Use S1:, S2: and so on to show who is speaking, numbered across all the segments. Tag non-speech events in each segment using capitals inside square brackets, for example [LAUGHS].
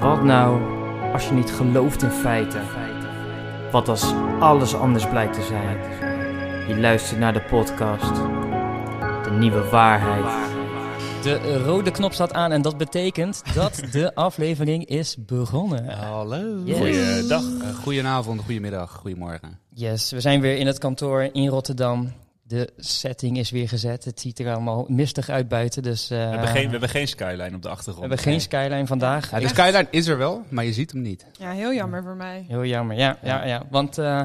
S1: Wat nou als je niet gelooft in feiten? Wat als alles anders blijkt te zijn? Je luistert naar de podcast. De nieuwe waarheid.
S2: De rode knop staat aan en dat betekent
S3: [LAUGHS]
S2: dat de aflevering is begonnen.
S4: Hallo.
S2: Yes.
S4: Goeiedag. eh, goedenavond, goedemiddag, goedemorgen.
S2: Yes, we zijn weer in het kantoor in Rotterdam. De setting is weer gezet. Het ziet er allemaal mistig uit buiten. Dus, eh,
S3: We hebben, geen, we hebben geen skyline op de achtergrond.
S2: we hebben geen skyline vandaag.
S4: Ja, de
S2: Ik-
S4: skyline is er wel, maar je ziet hem niet.
S5: Ja, heel jammer voor mij.
S2: Heel jammer, ja. ja, ja. Want eh,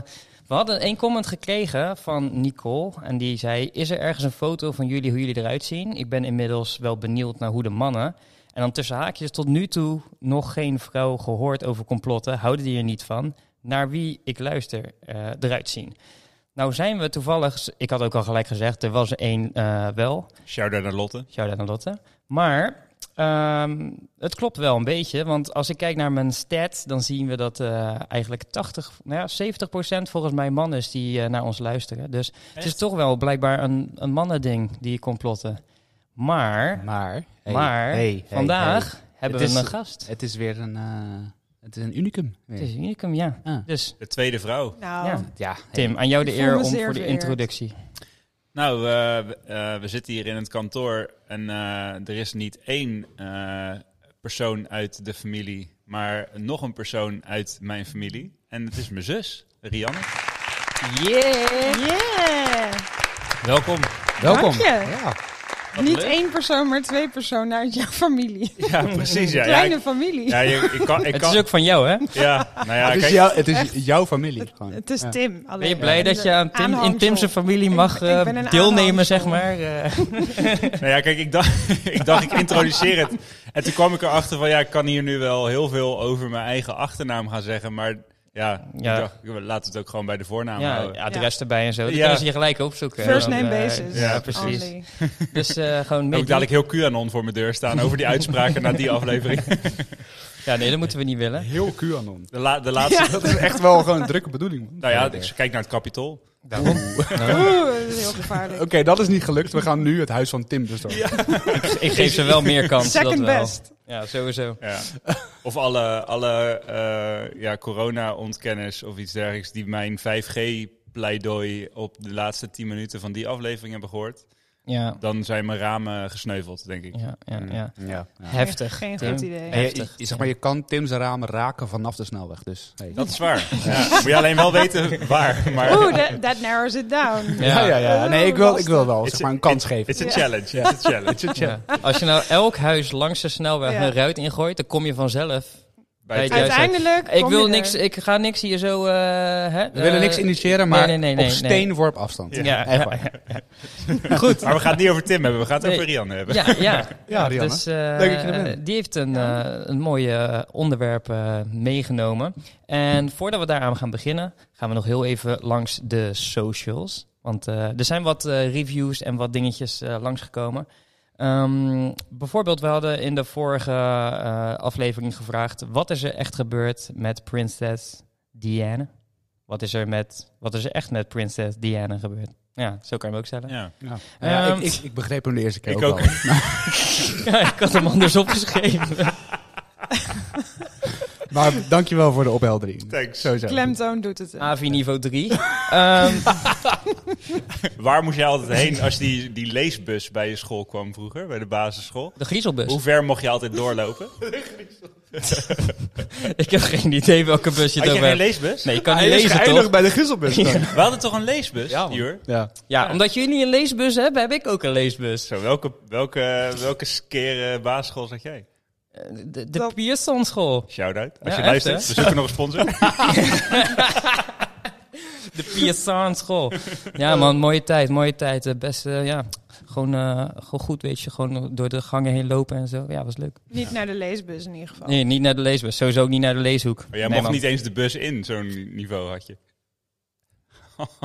S2: we hadden een comment gekregen van Nicole. En die zei, is er ergens een foto van jullie hoe jullie eruit zien? Ik ben inmiddels wel benieuwd naar hoe de mannen... En dan tussen haakjes, tot nu toe nog geen vrouw gehoord over complotten. Houden die er niet van. Naar wie ik luister eh, eruit zien. Nou zijn we toevallig... Ik had ook al gelijk gezegd, er was er één eh, wel.
S3: Shout-out naar Lotte.
S2: Shout-out aan Lotte. Maar ehm, het klopt wel een beetje. Want als ik kijk naar mijn stat, dan zien we dat eh, eigenlijk 80, nou ja, 70 volgens mij man is die eh, naar ons luisteren. Dus het is toch wel blijkbaar een, een mannending die complotten. Maar
S4: Maar,
S2: Maar, vandaag hebben
S4: Het
S2: we
S4: is-
S2: een gast.
S4: Het is weer een, eh, het is een unicum. weer.
S2: Het is een unicum, ja.
S4: Ah.
S2: Dus
S3: De tweede vrouw.
S5: Nou,
S2: Ja.
S4: Ja,
S2: Tim, aan jou de
S5: Ik voel
S2: eer
S5: me
S2: om
S5: zeer
S2: voor de
S5: vereerd.
S2: introductie.
S3: Nou, eh, we- eh, we zitten hier in het kantoor en eh, er is niet één eh, persoon uit de familie, maar nog een persoon uit mijn familie. En het is mijn zus, Rianne.
S2: Yeah!
S5: Yeah!
S3: Welkom.
S4: hey. welkom.
S5: Dank je.
S4: Ja.
S3: Wat
S5: Niet
S3: leuk.
S5: één persoon, maar twee personen uit jouw familie.
S3: Ja, precies. Ja, ja,
S5: Kleine
S3: ik,
S5: familie.
S3: ja, je- ik kan... Ik
S2: [LAUGHS] Het is
S3: kan
S2: ook van jou, hè?
S3: ja, nou ja,
S4: het is,
S3: kijk,
S4: jou, het is jouw familie. gewoon.
S5: Het is
S4: Ja.
S5: Tim. Alleen.
S2: Ben je blij dat je aan Tim, in Tim's familie mag
S5: Ik- ik ben
S2: eh,
S5: een
S2: deelnemen, zeg
S5: aanhangsel.
S2: maar? eh.
S3: nou ja, kijk ik, dacht, [LAUGHS] ik dacht, ik introduceer het. En toen kwam ik erachter van, ja, ik kan hier nu wel heel veel over mijn eigen achternaam gaan zeggen, maar ja,
S2: Ja.
S3: Ik dacht, laat het ook gewoon bij de voornaam
S2: Ja,
S3: houden.
S2: adres erbij en zo. Dan
S3: Ja.
S2: kunnen ze je gelijk opzoeken.
S5: First
S2: Dan,
S5: name
S2: eh,
S5: basis.
S2: Ja, precies.
S5: Only.
S2: Dus eh, gewoon
S3: Heb
S2: mee.
S3: ik dadelijk heel QAnon voor mijn deur staan over die uitspraken na die aflevering.
S2: Ja, nee, dat moeten we niet willen.
S4: Heel QAnon.
S3: [LAUGHS] De, la- de laatste.
S4: Dat is echt wel gewoon een drukke bedoeling. man.
S3: Nou ja,
S4: Oké,
S3: ik kijk naar het kapitol.
S2: Daarom.
S5: Oeh, dat is heel gevaarlijk.
S4: dat is niet gelukt. We gaan nu het huis van Tim bestormen.
S2: [LAUGHS] ik geef ze wel meer kans.
S5: Second
S2: dat wel.
S5: best.
S2: Ja, sowieso.
S3: Ja. [LAUGHS] Of alle, alle eh, ja, corona-ontkennis of iets dergelijks die mijn 5G-pleidooi op de laatste 10 minuten van die aflevering hebben gehoord.
S2: Ja,
S3: Dan zijn mijn ramen gesneuveld, denk ik.
S2: ja, ja. ja.
S4: Ja. ja.
S2: Heftig.
S5: Geen
S2: Tim.
S5: goed idee.
S4: En je-
S2: Heftig.
S4: je, zeg maar, je kan Tim's ramen raken vanaf de snelweg. Dus, hey.
S3: Dat is waar. Ja. Moet je alleen wel weten waar. Maar
S5: Oeh, that, that narrows it down.
S2: Ja.
S4: ja, ja, ja. Nee, ik wil, ik wil wel zeg maar, een kans geven.
S3: it's a
S5: Ja.
S3: challenge. It's a [LAUGHS] challenge.
S2: Ja. Als je nou elk huis langs de snelweg
S5: Ja.
S2: een ruit ingooit, dan kom je vanzelf.
S3: Bij het-
S2: Jij zei-
S5: [LAUGHS] Uiteindelijk
S2: Ik,
S5: kom
S2: wil
S5: je
S2: niks,
S5: er.
S2: ik ga niks hier zo. eh, hè,
S4: We willen
S2: eh,
S4: niks initiëren,
S2: nee,
S4: maar
S2: nee, nee, nee,
S4: op
S2: nee.
S4: steenworp afstand.
S2: Ja, ja,
S4: Echt
S2: ja,
S4: waar.
S2: [LAUGHS]
S3: Maar we gaan het niet over Tim hebben, we gaan het
S2: Nee.
S3: over Rian hebben.
S2: ja.
S4: Ja, Rianne.
S2: Dus, eh,
S4: Leuk dat je er bent.
S2: Die heeft een, eh, een mooi eh, onderwerp eh, meegenomen. En voordat we daaraan gaan beginnen, gaan we nog heel even langs de socials. Want eh, er zijn wat eh, reviews en wat dingetjes eh, langsgekomen. Ehm, bijvoorbeeld, we hadden in de vorige eh, aflevering gevraagd... wat is er echt gebeurd met prinses Diane? Wat is er, met, wat is er echt met prinses Diane gebeurd? Ja, zo kan je hem ook stellen.
S3: Ja.
S4: Ja. Nou ja,
S2: Ehm,
S4: ik, ik, ik begreep hem de eerste keer
S3: Ik
S4: ook,
S3: ook.
S4: al.
S2: [LAUGHS] Ja, ik had hem anders opgeschreven.
S4: Maar dankjewel voor de opheldering.
S3: Thanks.
S4: Sowieso.
S5: Klemtoon doet het.
S2: AVI niveau 3. [LAUGHS] Ehm,
S3: Waar moest jij altijd [LAUGHS] heen als die, die leesbus bij je school kwam vroeger, bij de basisschool?
S2: de griezelbus.
S3: Hoe ver mocht je altijd
S2: [LAUGHS]
S3: doorlopen?
S2: Ik heb geen idee welke bus je
S3: Had
S2: het
S3: je
S2: over
S3: geen
S2: hebt.
S3: leesbus?
S2: Nee, je kan niet
S4: Hij is
S2: lezen
S4: geëindigd
S2: toch?
S4: bij de Gizzelbus. dan.
S3: We hadden toch een leesbus,
S4: Ja, man.
S3: Jur?
S4: Ja.
S2: Ja, omdat jullie een leesbus hebben, heb ik ook een leesbus.
S3: Zo, welke, welke, welke skere basisschool zat jij?
S2: Eh, De, de
S3: [LAUGHS]
S2: Piersonschool.
S3: Shout-out. Als
S2: Ja,
S3: je
S2: echt,
S3: luistert,
S2: hè?
S3: we zoeken nog een
S2: [LAUGHS]
S3: sponsor.
S2: De Piersonschool. Ja man, mooie tijd, mooie tijd. Eh, Best, eh, ja, gewoon, eh, gewoon goed weet je. Gewoon door de gangen heen lopen en zo. Ja, was leuk.
S5: Niet naar de leesbus in ieder geval.
S2: Nee, niet naar de leesbus. Sowieso ook niet naar de leeshoek.
S3: Maar Oh, jij
S2: nee,
S3: mocht niet eens de bus in, zo'n niveau had je.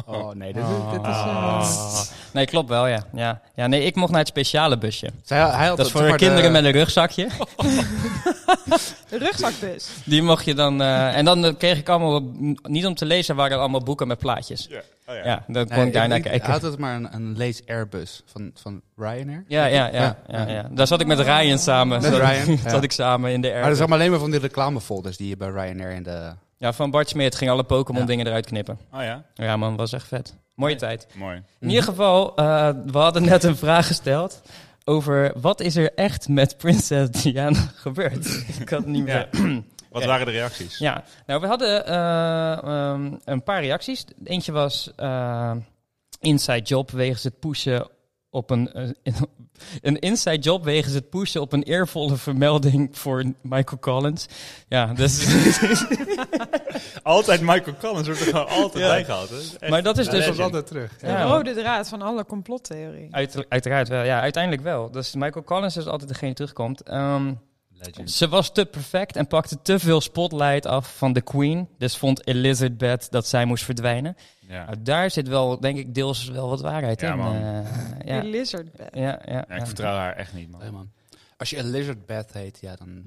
S4: Oh nee, dit,
S2: Oh.
S4: dit is... eh,
S2: Nee, klopt wel, ja. ja. Ja, nee, ik mocht naar het speciale busje.
S4: Zij- hij had
S2: Dat is
S4: het,
S2: voor
S4: zeg maar,
S2: kinderen
S4: de-
S2: met een rugzakje.
S5: De rugzakbus.
S2: Die mocht je dan. eh, en dan eh, kreeg ik allemaal. Niet om te lezen, waren er allemaal boeken met plaatjes.
S3: Ja. Oh ja.
S2: Ja, dan kon ik daarna kijken.
S4: Had het maar een, een Lace Airbus van, van Ryanair.
S2: Ja, ja, ja,
S4: Ja.
S2: ja, ja. Daar zat ik met Ryan samen.
S4: Met
S2: zat, [LAUGHS]
S4: Ryan,
S2: zat
S4: ja.
S2: ik samen in de
S4: Maar dat
S2: air.
S4: is allemaal alleen maar van die reclamefolders die je bij Ryanair in de...
S2: Ja, van Bart Smit ging alle Pokémon
S4: Ja.
S2: dingen eruit knippen.
S3: Oh ja,
S2: Ja man, was echt vet. Mooie tijd.
S3: mooi.
S4: Mhm.
S2: In ieder geval, eh, we hadden net een vraag gesteld over wat is er echt met prinses Diana [LAUGHS] gebeurd? ik had het niet
S3: [CLEARS THROAT]
S2: meer.
S3: Ja.
S2: Ja,
S3: Wat
S2: Ja.
S3: waren de reacties?
S2: nou we hadden eh, ehm, een paar reacties. Eentje was eh, inside job wegens het pushen op een, eh, [LAUGHS] een inside job wegens het pushen op een eervolle vermelding voor Michael Collins. Ja, dus...
S3: [LAUGHS] Altijd Michael Collins wordt er gewoon altijd
S2: Ja.
S3: bij gehaald. hè? Dat is echt
S2: Maar dat is
S3: een
S2: dus-
S3: legend.
S4: terug.
S2: Ja. Oh,
S5: De rode draad van alle complottheorie.
S2: Uit- uiteraard wel, ja, uiteindelijk wel. Dus Michael Collins is altijd degene die terugkomt. Ehm,
S4: Legend.
S2: ze was te perfect en pakte te veel spotlight af van de Queen. Dus vond Elizabeth dat zij moest verdwijnen.
S3: Ja.
S2: Nou, daar zit wel, denk ik, deels wel wat waarheid
S3: Ja,
S2: in.
S3: man.
S2: eh, ja.
S5: Die lizard bed.
S2: Ja, ja,
S3: Ja, ik vertrouw haar echt niet, man.
S4: Hey, man. Als je een lizard bed heet, ja dan...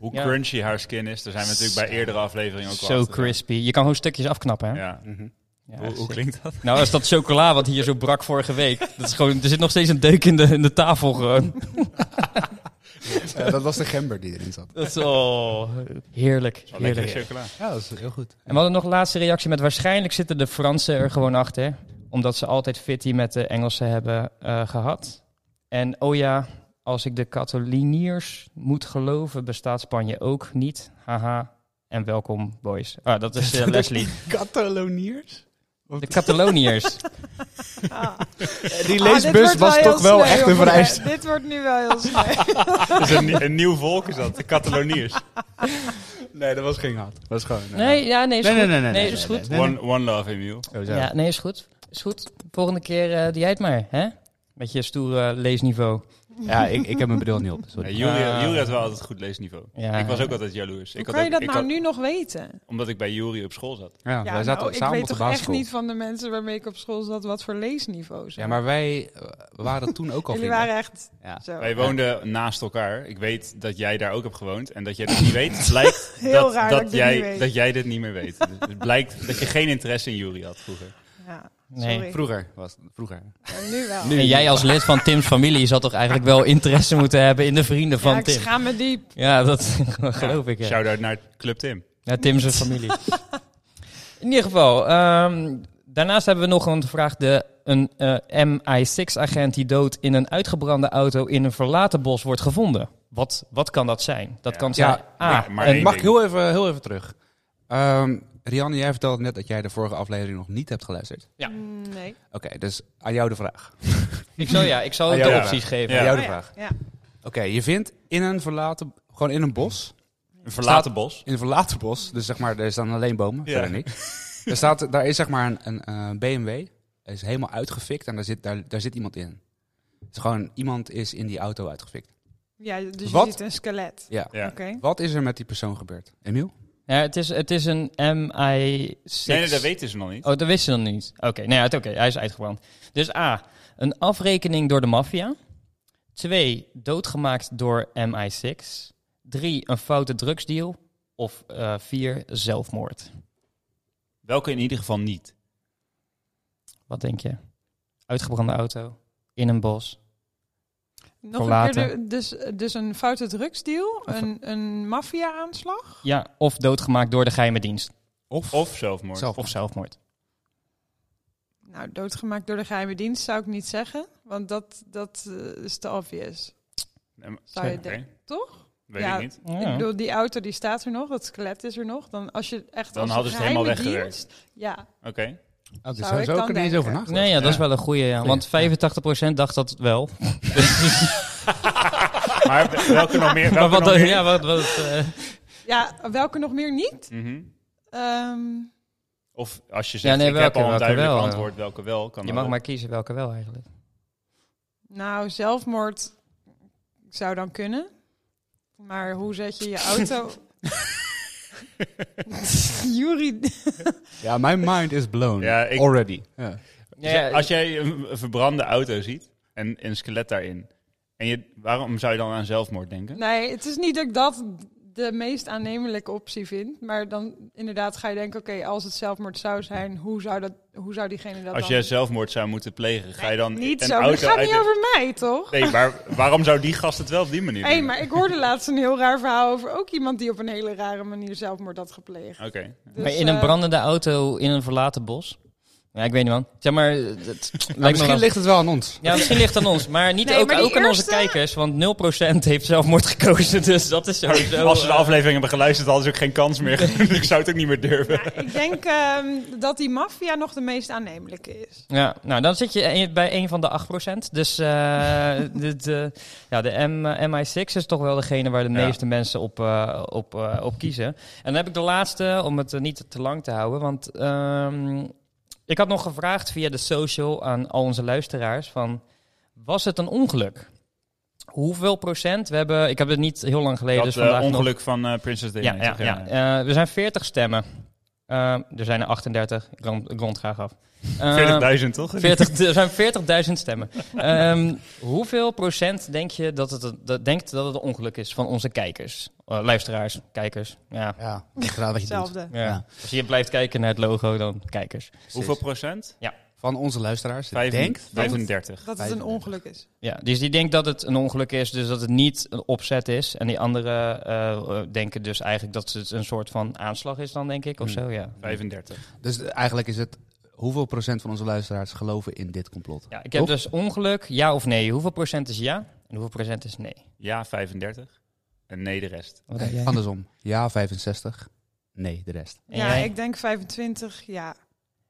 S3: Hoe
S2: Ja.
S3: crunchy haar skin is, daar zijn we natuurlijk bij eerdere afleveringen ook al
S2: Zo
S3: achter.
S2: crispy. Je kan gewoon stukjes afknappen, hè?
S3: Ja.
S4: Mhm.
S2: Ja,
S3: Hoe, hoe
S2: sick.
S3: klinkt dat?
S2: Nou, als dat chocola wat hier zo brak vorige week. Dat is gewoon, er zit nog steeds een deuk in de, in de tafel gewoon.
S4: Eh, dat was de gember die erin zat.
S2: Dat is, oh, heerlijk,
S3: Oh,
S2: heerlijk.
S3: lekkere chocola.
S4: Ja, dat is heel goed.
S2: En we hadden nog een laatste reactie met waarschijnlijk zitten de Fransen er gewoon achter. Omdat ze altijd fitty met de Engelsen hebben eh, gehad. En oh ja, als ik de Cataliniërs moet geloven, bestaat Spanje ook niet. Haha. En welkom, boys. Ah, dat is eh, Leslie.
S4: Cataloniers?
S2: De Cataloniërs.
S5: Ah.
S4: Eh, Die
S5: Ah, dit wordt
S4: leesbus was
S5: heel
S4: toch wel
S5: sneu,
S4: echt een
S5: jongen.
S4: vereist.
S5: Dit wordt
S4: [LAUGHS]
S5: nu wel heel snel.
S3: Dat is een, nie- een nieuw volk is dat, de
S5: [LAUGHS]
S3: Cataloniërs.
S4: Nee, dat was geen haat. Dat was gewoon... eh,
S2: Nee, ja, nee, is
S4: Nee,
S2: goed.
S4: nee, nee, nee, nee,
S2: is
S4: nee,
S2: goed.
S4: nee, nee.
S3: One, one love, Emil.
S4: Oh, zo.
S2: Ja, nee, is goed. Is goed. Volgende keer eh doe jij het maar, hè? Met je stoere eh, leesniveau.
S4: Ja, ik, ik heb mijn bril niet op.
S3: Ja,
S4: Sorry.
S3: Jury,
S2: Ah.
S3: Jury had wel altijd goed leesniveau.
S2: Ja.
S3: Ik was ook altijd
S5: uh,
S3: jaloers.
S5: Hoe
S3: Ik
S5: kan je
S3: ook-
S5: dat
S3: ik
S5: nou
S3: had-
S5: nu nog weten?
S3: Omdat ik bij Jury op school zat.
S4: Ja, wij zaten
S5: nou, ik
S4: samen
S5: weet
S4: op de
S5: toch echt
S4: basisschool.
S5: niet van de mensen waarmee ik op school zat wat voor leesniveaus.
S4: Ja, maar wij eh, waren toen ook al
S5: Jullie
S4: vrienden.
S5: waren echt
S4: Ja.
S5: zo.
S3: Wij woonden naast elkaar. Ik weet dat jij daar ook hebt gewoond. En dat jij dat niet weet,
S5: [LAUGHS]
S3: blijkt
S5: Heel
S3: dat,
S5: raar dat ik dit
S3: jij,
S5: niet weet.
S3: dat jij dit niet meer weet. Dus het blijkt dat je geen interesse in Jury had vroeger.
S5: Ja,
S2: Nee.
S5: sorry.
S4: Vroeger was Vroeger.
S5: Maar nu wel.
S2: En jij als lid van Tim's familie zou toch eigenlijk wel interesse moeten hebben in de vrienden van
S5: ja, ik
S2: Tim?
S5: schaam me diep.
S2: Ja, dat [LAUGHS] geloof ik. Ja.
S3: Shout-out naar Club Tim.
S2: ja, Tim zijn
S3: [LAUGHS]
S2: familie. In ieder geval, ehm, daarnaast hebben we nog een vraag. De, een eh, MI6-agent die dood in een uitgebrande auto in een verlaten bos wordt gevonden. Wat, wat kan dat zijn? Dat
S3: Ja.
S2: kan zijn...
S4: Ja,
S2: ah,
S3: maar
S2: een-
S3: één-
S4: Mag ik
S3: ding.
S4: heel even, heel even terug? Ehm Rianne, jij vertelde net dat jij de vorige aflevering nog niet hebt geluisterd.
S2: Ja.
S5: Mm, Nee.
S4: Oké, dus aan jou de vraag.
S2: ik zal, ja, ik zal
S4: Ah,
S2: de
S3: ja.
S2: opties geven.
S3: Ja.
S4: Aan jou de
S5: Oh ja,
S4: vraag.
S5: Ja.
S4: Oké, je vindt in een verlaten... Gewoon in een bos.
S3: Een verlaten bos.
S4: In een verlaten bos. Dus zeg maar, er staan alleen bomen.
S3: Ja.
S4: Verder niks. Er staat, daar is zeg maar een, een eh, BMW. Is helemaal uitgefikt en daar zit, daar, daar zit iemand in. Dus gewoon, iemand is in die auto uitgefikt.
S5: ja, dus
S4: Wat?
S5: je ziet een skelet.
S4: Ja.
S3: Ja.
S5: Oké.
S4: Wat is er met die persoon gebeurd? Emiel?
S2: Ja, het, is, het is een MI6.
S3: Nee, nee, dat weten ze nog niet.
S2: Oh, dat wist ze dan niet. Oké, nou ja, het- oké, hij is uitgebrand. Dus A, een afrekening door de maffia. Twee, doodgemaakt door MI6. Drie, een foute drugsdeal. Of eh, vier, zelfmoord.
S3: Welke in ieder geval niet.
S2: Wat denk je? Uitgebrande auto, in een bos.
S5: Nog een
S2: Verlaten.
S5: keer, de- dus, dus een foute drugsdeal, een, een maffia-aanslag.
S2: Ja, of doodgemaakt door de geheime dienst.
S4: Of?
S3: Of zelfmoord.
S4: Zelf.
S2: Of zelfmoord.
S5: Nou, doodgemaakt door de geheime dienst zou ik niet zeggen, want dat, dat eh, is te obvious.
S3: Nee, maar-
S5: Zou je
S3: Oké.
S5: denken. toch?
S3: Weet
S5: Ja.
S3: ik niet.
S2: Ja.
S5: Ik bedoel, die auto die staat er nog, dat skelet is er nog. Dan als je echt
S3: Dan
S5: als
S3: hadden ze het helemaal
S5: geheime
S3: weggewerkt.
S5: dienst- Ja,
S3: Oké.
S4: Oh, dus
S5: Zou
S4: zou
S5: ik
S4: zo ook
S5: dan
S4: er niet eens over
S5: denken.
S4: nagedacht.
S2: Nee, ja, dat
S3: Ja.
S2: is wel een goede. Ja, want 85% dacht dat wel.
S3: Maar we- welke nog meer? Welke
S2: [LAUGHS] Maar wat,
S3: nog meer?
S2: ja, wat, wat, eh,
S5: ja, welke nog meer niet?
S3: Mhm.
S5: Ehm,
S3: Of als je
S2: Ja,
S3: zegt,
S2: nee,
S3: ik
S2: welke-
S3: heb al een
S2: welke
S3: duidelijk
S2: wel, ja.
S3: antwoord, welke wel. Kan
S2: je
S3: dat
S2: mag
S3: ook.
S2: maar kiezen welke wel eigenlijk.
S5: nou, zelfmoord zou dan kunnen. Maar hoe zet je je auto...
S3: [LAUGHS]
S5: Jury,
S4: Ja, mijn mind is blown.
S3: Ja, ik-
S4: Already. Nou, Ja.
S3: Dus Als jij een een verbrande auto ziet en een skelet daarin, en je, waarom zou je dan aan zelfmoord denken?
S5: nee, het is niet dat ik dat de meest aannemelijke optie vind. Maar dan inderdaad ga je denken, oké, als het zelfmoord zou zijn, hoe zou, dat, hoe zou diegene dat
S3: Als
S5: dan...
S3: jij zelfmoord zou moeten plegen, ga je dan
S5: Niet
S3: een
S5: zo, maar het
S3: auto
S5: gaat
S3: uit
S5: niet
S3: de-
S5: over mij, toch?
S3: Nee, maar waarom zou die gast het wel op die manier
S5: Hé,
S3: doen?
S5: maar ik hoorde laatst een heel raar verhaal over ook iemand die op een hele rare manier zelfmoord had gepleegd.
S3: Oké.
S5: Dus,
S2: maar in een
S5: eh,
S2: brandende auto in een verlaten bos? Ja, ik weet niet man. Zeg maar, het lijkt me
S4: misschien
S2: wel-
S4: ligt het wel aan ons.
S2: Ja, misschien ligt het aan ons, maar niet
S5: Nee,
S2: ook,
S5: maar die
S2: ook aan onze
S5: eerste-
S2: kijkers, want 0% heeft zelfmoord gekozen, [LAUGHS] dus dat is sowieso...
S3: Als ze de
S2: eh,
S3: aflevering hebben geluisterd, hadden ze ook geen kans meer.
S2: [LAUGHS]
S3: ik zou het ook niet meer durven.
S5: ja, ik denk ehm, dat die maffia nog de meest aannemelijke is.
S2: Ja, nou dan zit je een- bij een van de 8%. Dus
S3: [LAUGHS]
S2: eh, dit, eh, ja, de M, eh, MI6 is toch wel degene waar de
S3: Ja.
S2: meeste mensen op, eh, op, eh, op kiezen. En dan heb ik de laatste, om het eh, niet te lang te houden. Want ehm, ik had nog gevraagd via de social aan al onze luisteraars van... Was het een ongeluk? Hoeveel procent? We hebben, ik heb het niet heel lang geleden.
S3: Dat
S2: dus
S3: eh,
S2: vandaag nog-
S3: ongeluk van eh, Princess Diana.
S2: ja, ja, ja. Eh, er zijn 40 stemmen. Eh, er zijn er 38. Ik rond, ik rond graag af. Eh,
S3: 40.000 toch?
S2: 40, er zijn 40.000 stemmen. Ehm, hoeveel procent denk je dat het, dat, denkt dat het een ongeluk is van onze kijkers? Eh, luisteraars, kijkers. Ja.
S4: Ja, ik gedaan wat je doet.
S5: Hetzelfde.
S2: Ja.
S4: Ja.
S2: Als je blijft kijken naar het logo, dan kijkers.
S3: Hoeveel procent?
S4: Van onze luisteraars.
S3: Vijf-
S4: Denk
S3: 35.
S5: Dat het een ongeluk is.
S2: Ja, dus die denkt dat het een ongeluk is, dus dat het niet een opzet is. En die anderen eh, eh, denken dus eigenlijk dat het een soort van aanslag is dan, denk ik, of
S4: Hmm.
S2: zo. Ja.
S3: 35.
S4: Dus eh, eigenlijk is het hoeveel procent van onze luisteraars geloven in dit complot?
S2: ja, ik heb
S4: Toch?
S2: dus ongeluk, ja of nee. Hoeveel procent is ja en hoeveel procent is nee?
S3: Ja, 35. En nee, de rest.
S2: Wat
S4: Nee,
S2: denk jij?
S4: andersom. Ja, 65. Nee, de rest.
S2: En
S5: Ja,
S2: jij?
S5: ik denk 25, ja.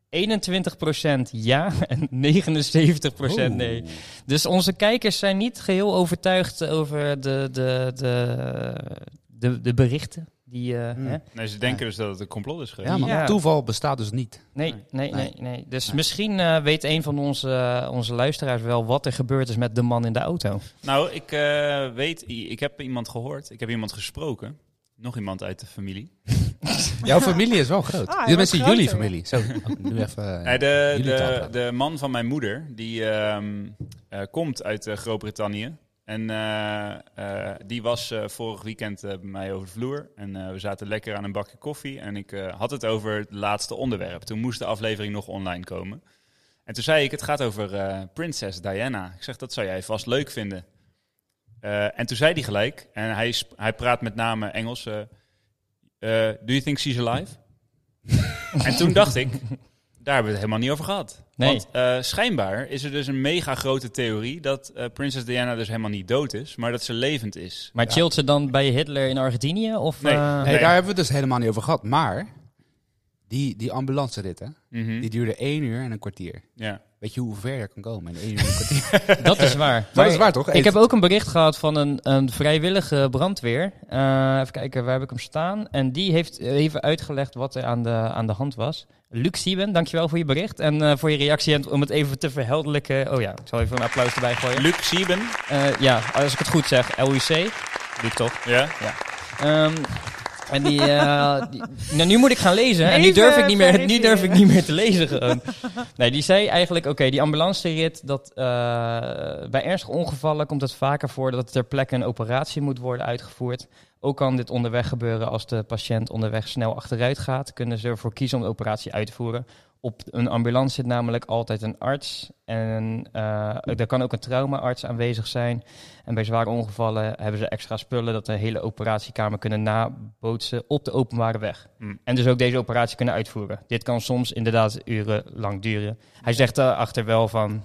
S2: 21% ja en 79% nee.
S4: Oeh.
S2: Dus onze kijkers zijn niet geheel overtuigd over de, de, de, de, de berichten. Die, eh,
S4: Hmm.
S2: hè?
S3: Nee, ze denken dus dat het een complot is geweest.
S4: Ja, man.
S2: Ja.
S4: Toeval bestaat dus niet.
S2: Nee, nee, nee,
S4: Nee.
S2: nee, Dus
S4: Nee.
S2: misschien eh, weet een van onze, onze luisteraars wel wat er gebeurd is met de man in de auto.
S3: Nou, ik eh, weet, i- ik heb iemand gehoord. Ik heb iemand gesproken. Nog iemand uit de familie.
S4: Jouw familie is wel
S5: [LAUGHS]
S4: groot.
S5: Ah, hij
S4: Dit
S5: wordt
S4: mensen jullie
S5: groter.
S4: familie. Zo, nu even. eh.
S3: Nee, de,
S4: jullie taal
S3: de,
S4: praten.
S3: de man van mijn moeder, die ehm, eh, komt uit eh, Groot-Brittannië. En eh, eh, die was eh, vorig weekend eh, bij mij over de vloer. En eh, we zaten lekker aan een bakje koffie. En ik eh, had het over het laatste onderwerp. Toen moest de aflevering nog online komen. En toen zei ik, het gaat over eh Prinses Diana. Ik zeg, dat zou jij vast leuk vinden. Eh, en toen zei hij gelijk, en hij, sp- hij praat met name Engels. eh, eh, Do you think she's
S2: [LAUGHS]
S3: alive? en toen dacht ik, daar hebben we het helemaal niet over gehad.
S2: Nee.
S3: Want eh, schijnbaar is er dus een mega grote theorie dat eh Prinses Diana dus helemaal niet dood is, maar dat ze levend is.
S2: Maar chillt ze dan bij Hitler in Argentinië? Of,
S3: Nee.
S2: eh,
S4: Nee,
S3: Nee.
S4: daar hebben we het dus helemaal niet over gehad. Maar die, die ambulance rit, hè,
S3: Mhm,
S4: die duurde 1 uur en een kwartier.
S3: Ja.
S4: Weet je hoe ver je kan komen in 1 uur
S3: [LAUGHS]
S4: en een kwartier?
S2: Dat is waar.
S4: [LAUGHS] dat is waar, toch?
S2: Ik heb ook een bericht gehad van een, een vrijwillige brandweer. Eh, even kijken, waar heb ik hem staan? En die heeft even uitgelegd wat er aan de, aan de hand was. Luc Sieben, dankjewel voor je bericht en eh, voor je reactie. En om het even te verheldelijken... Oh ja, ik zal even een applaus erbij gooien.
S3: Luc Sieben.
S2: Eh, ja, als ik het goed zeg, LUC. Luc toch?
S3: Ja.
S2: Ehm, en die, eh, die- nou, nu moet ik gaan lezen. En nu
S5: Even
S2: durf ik niet meer, nu durf ik
S5: verifiëren.
S2: niet meer te lezen gewoon. Nee, die zei eigenlijk, oké, die ambulancerit, dat eh, bij ernstige ongevallen komt het vaker voor dat ter plekke een operatie moet worden uitgevoerd. Ook kan dit onderweg gebeuren als de patiënt onderweg snel achteruit gaat, kunnen ze ervoor kiezen om de operatie uit te voeren. Op een ambulance zit namelijk altijd een arts en eh er kan ook een traumaarts aanwezig zijn. En bij zware ongevallen hebben ze extra spullen dat de hele operatiekamer kunnen nabootsen op de openbare weg.
S3: Mm.
S2: En dus ook deze operatie kunnen uitvoeren. Dit kan soms inderdaad uren lang duren. Hij zegt daarachter wel van.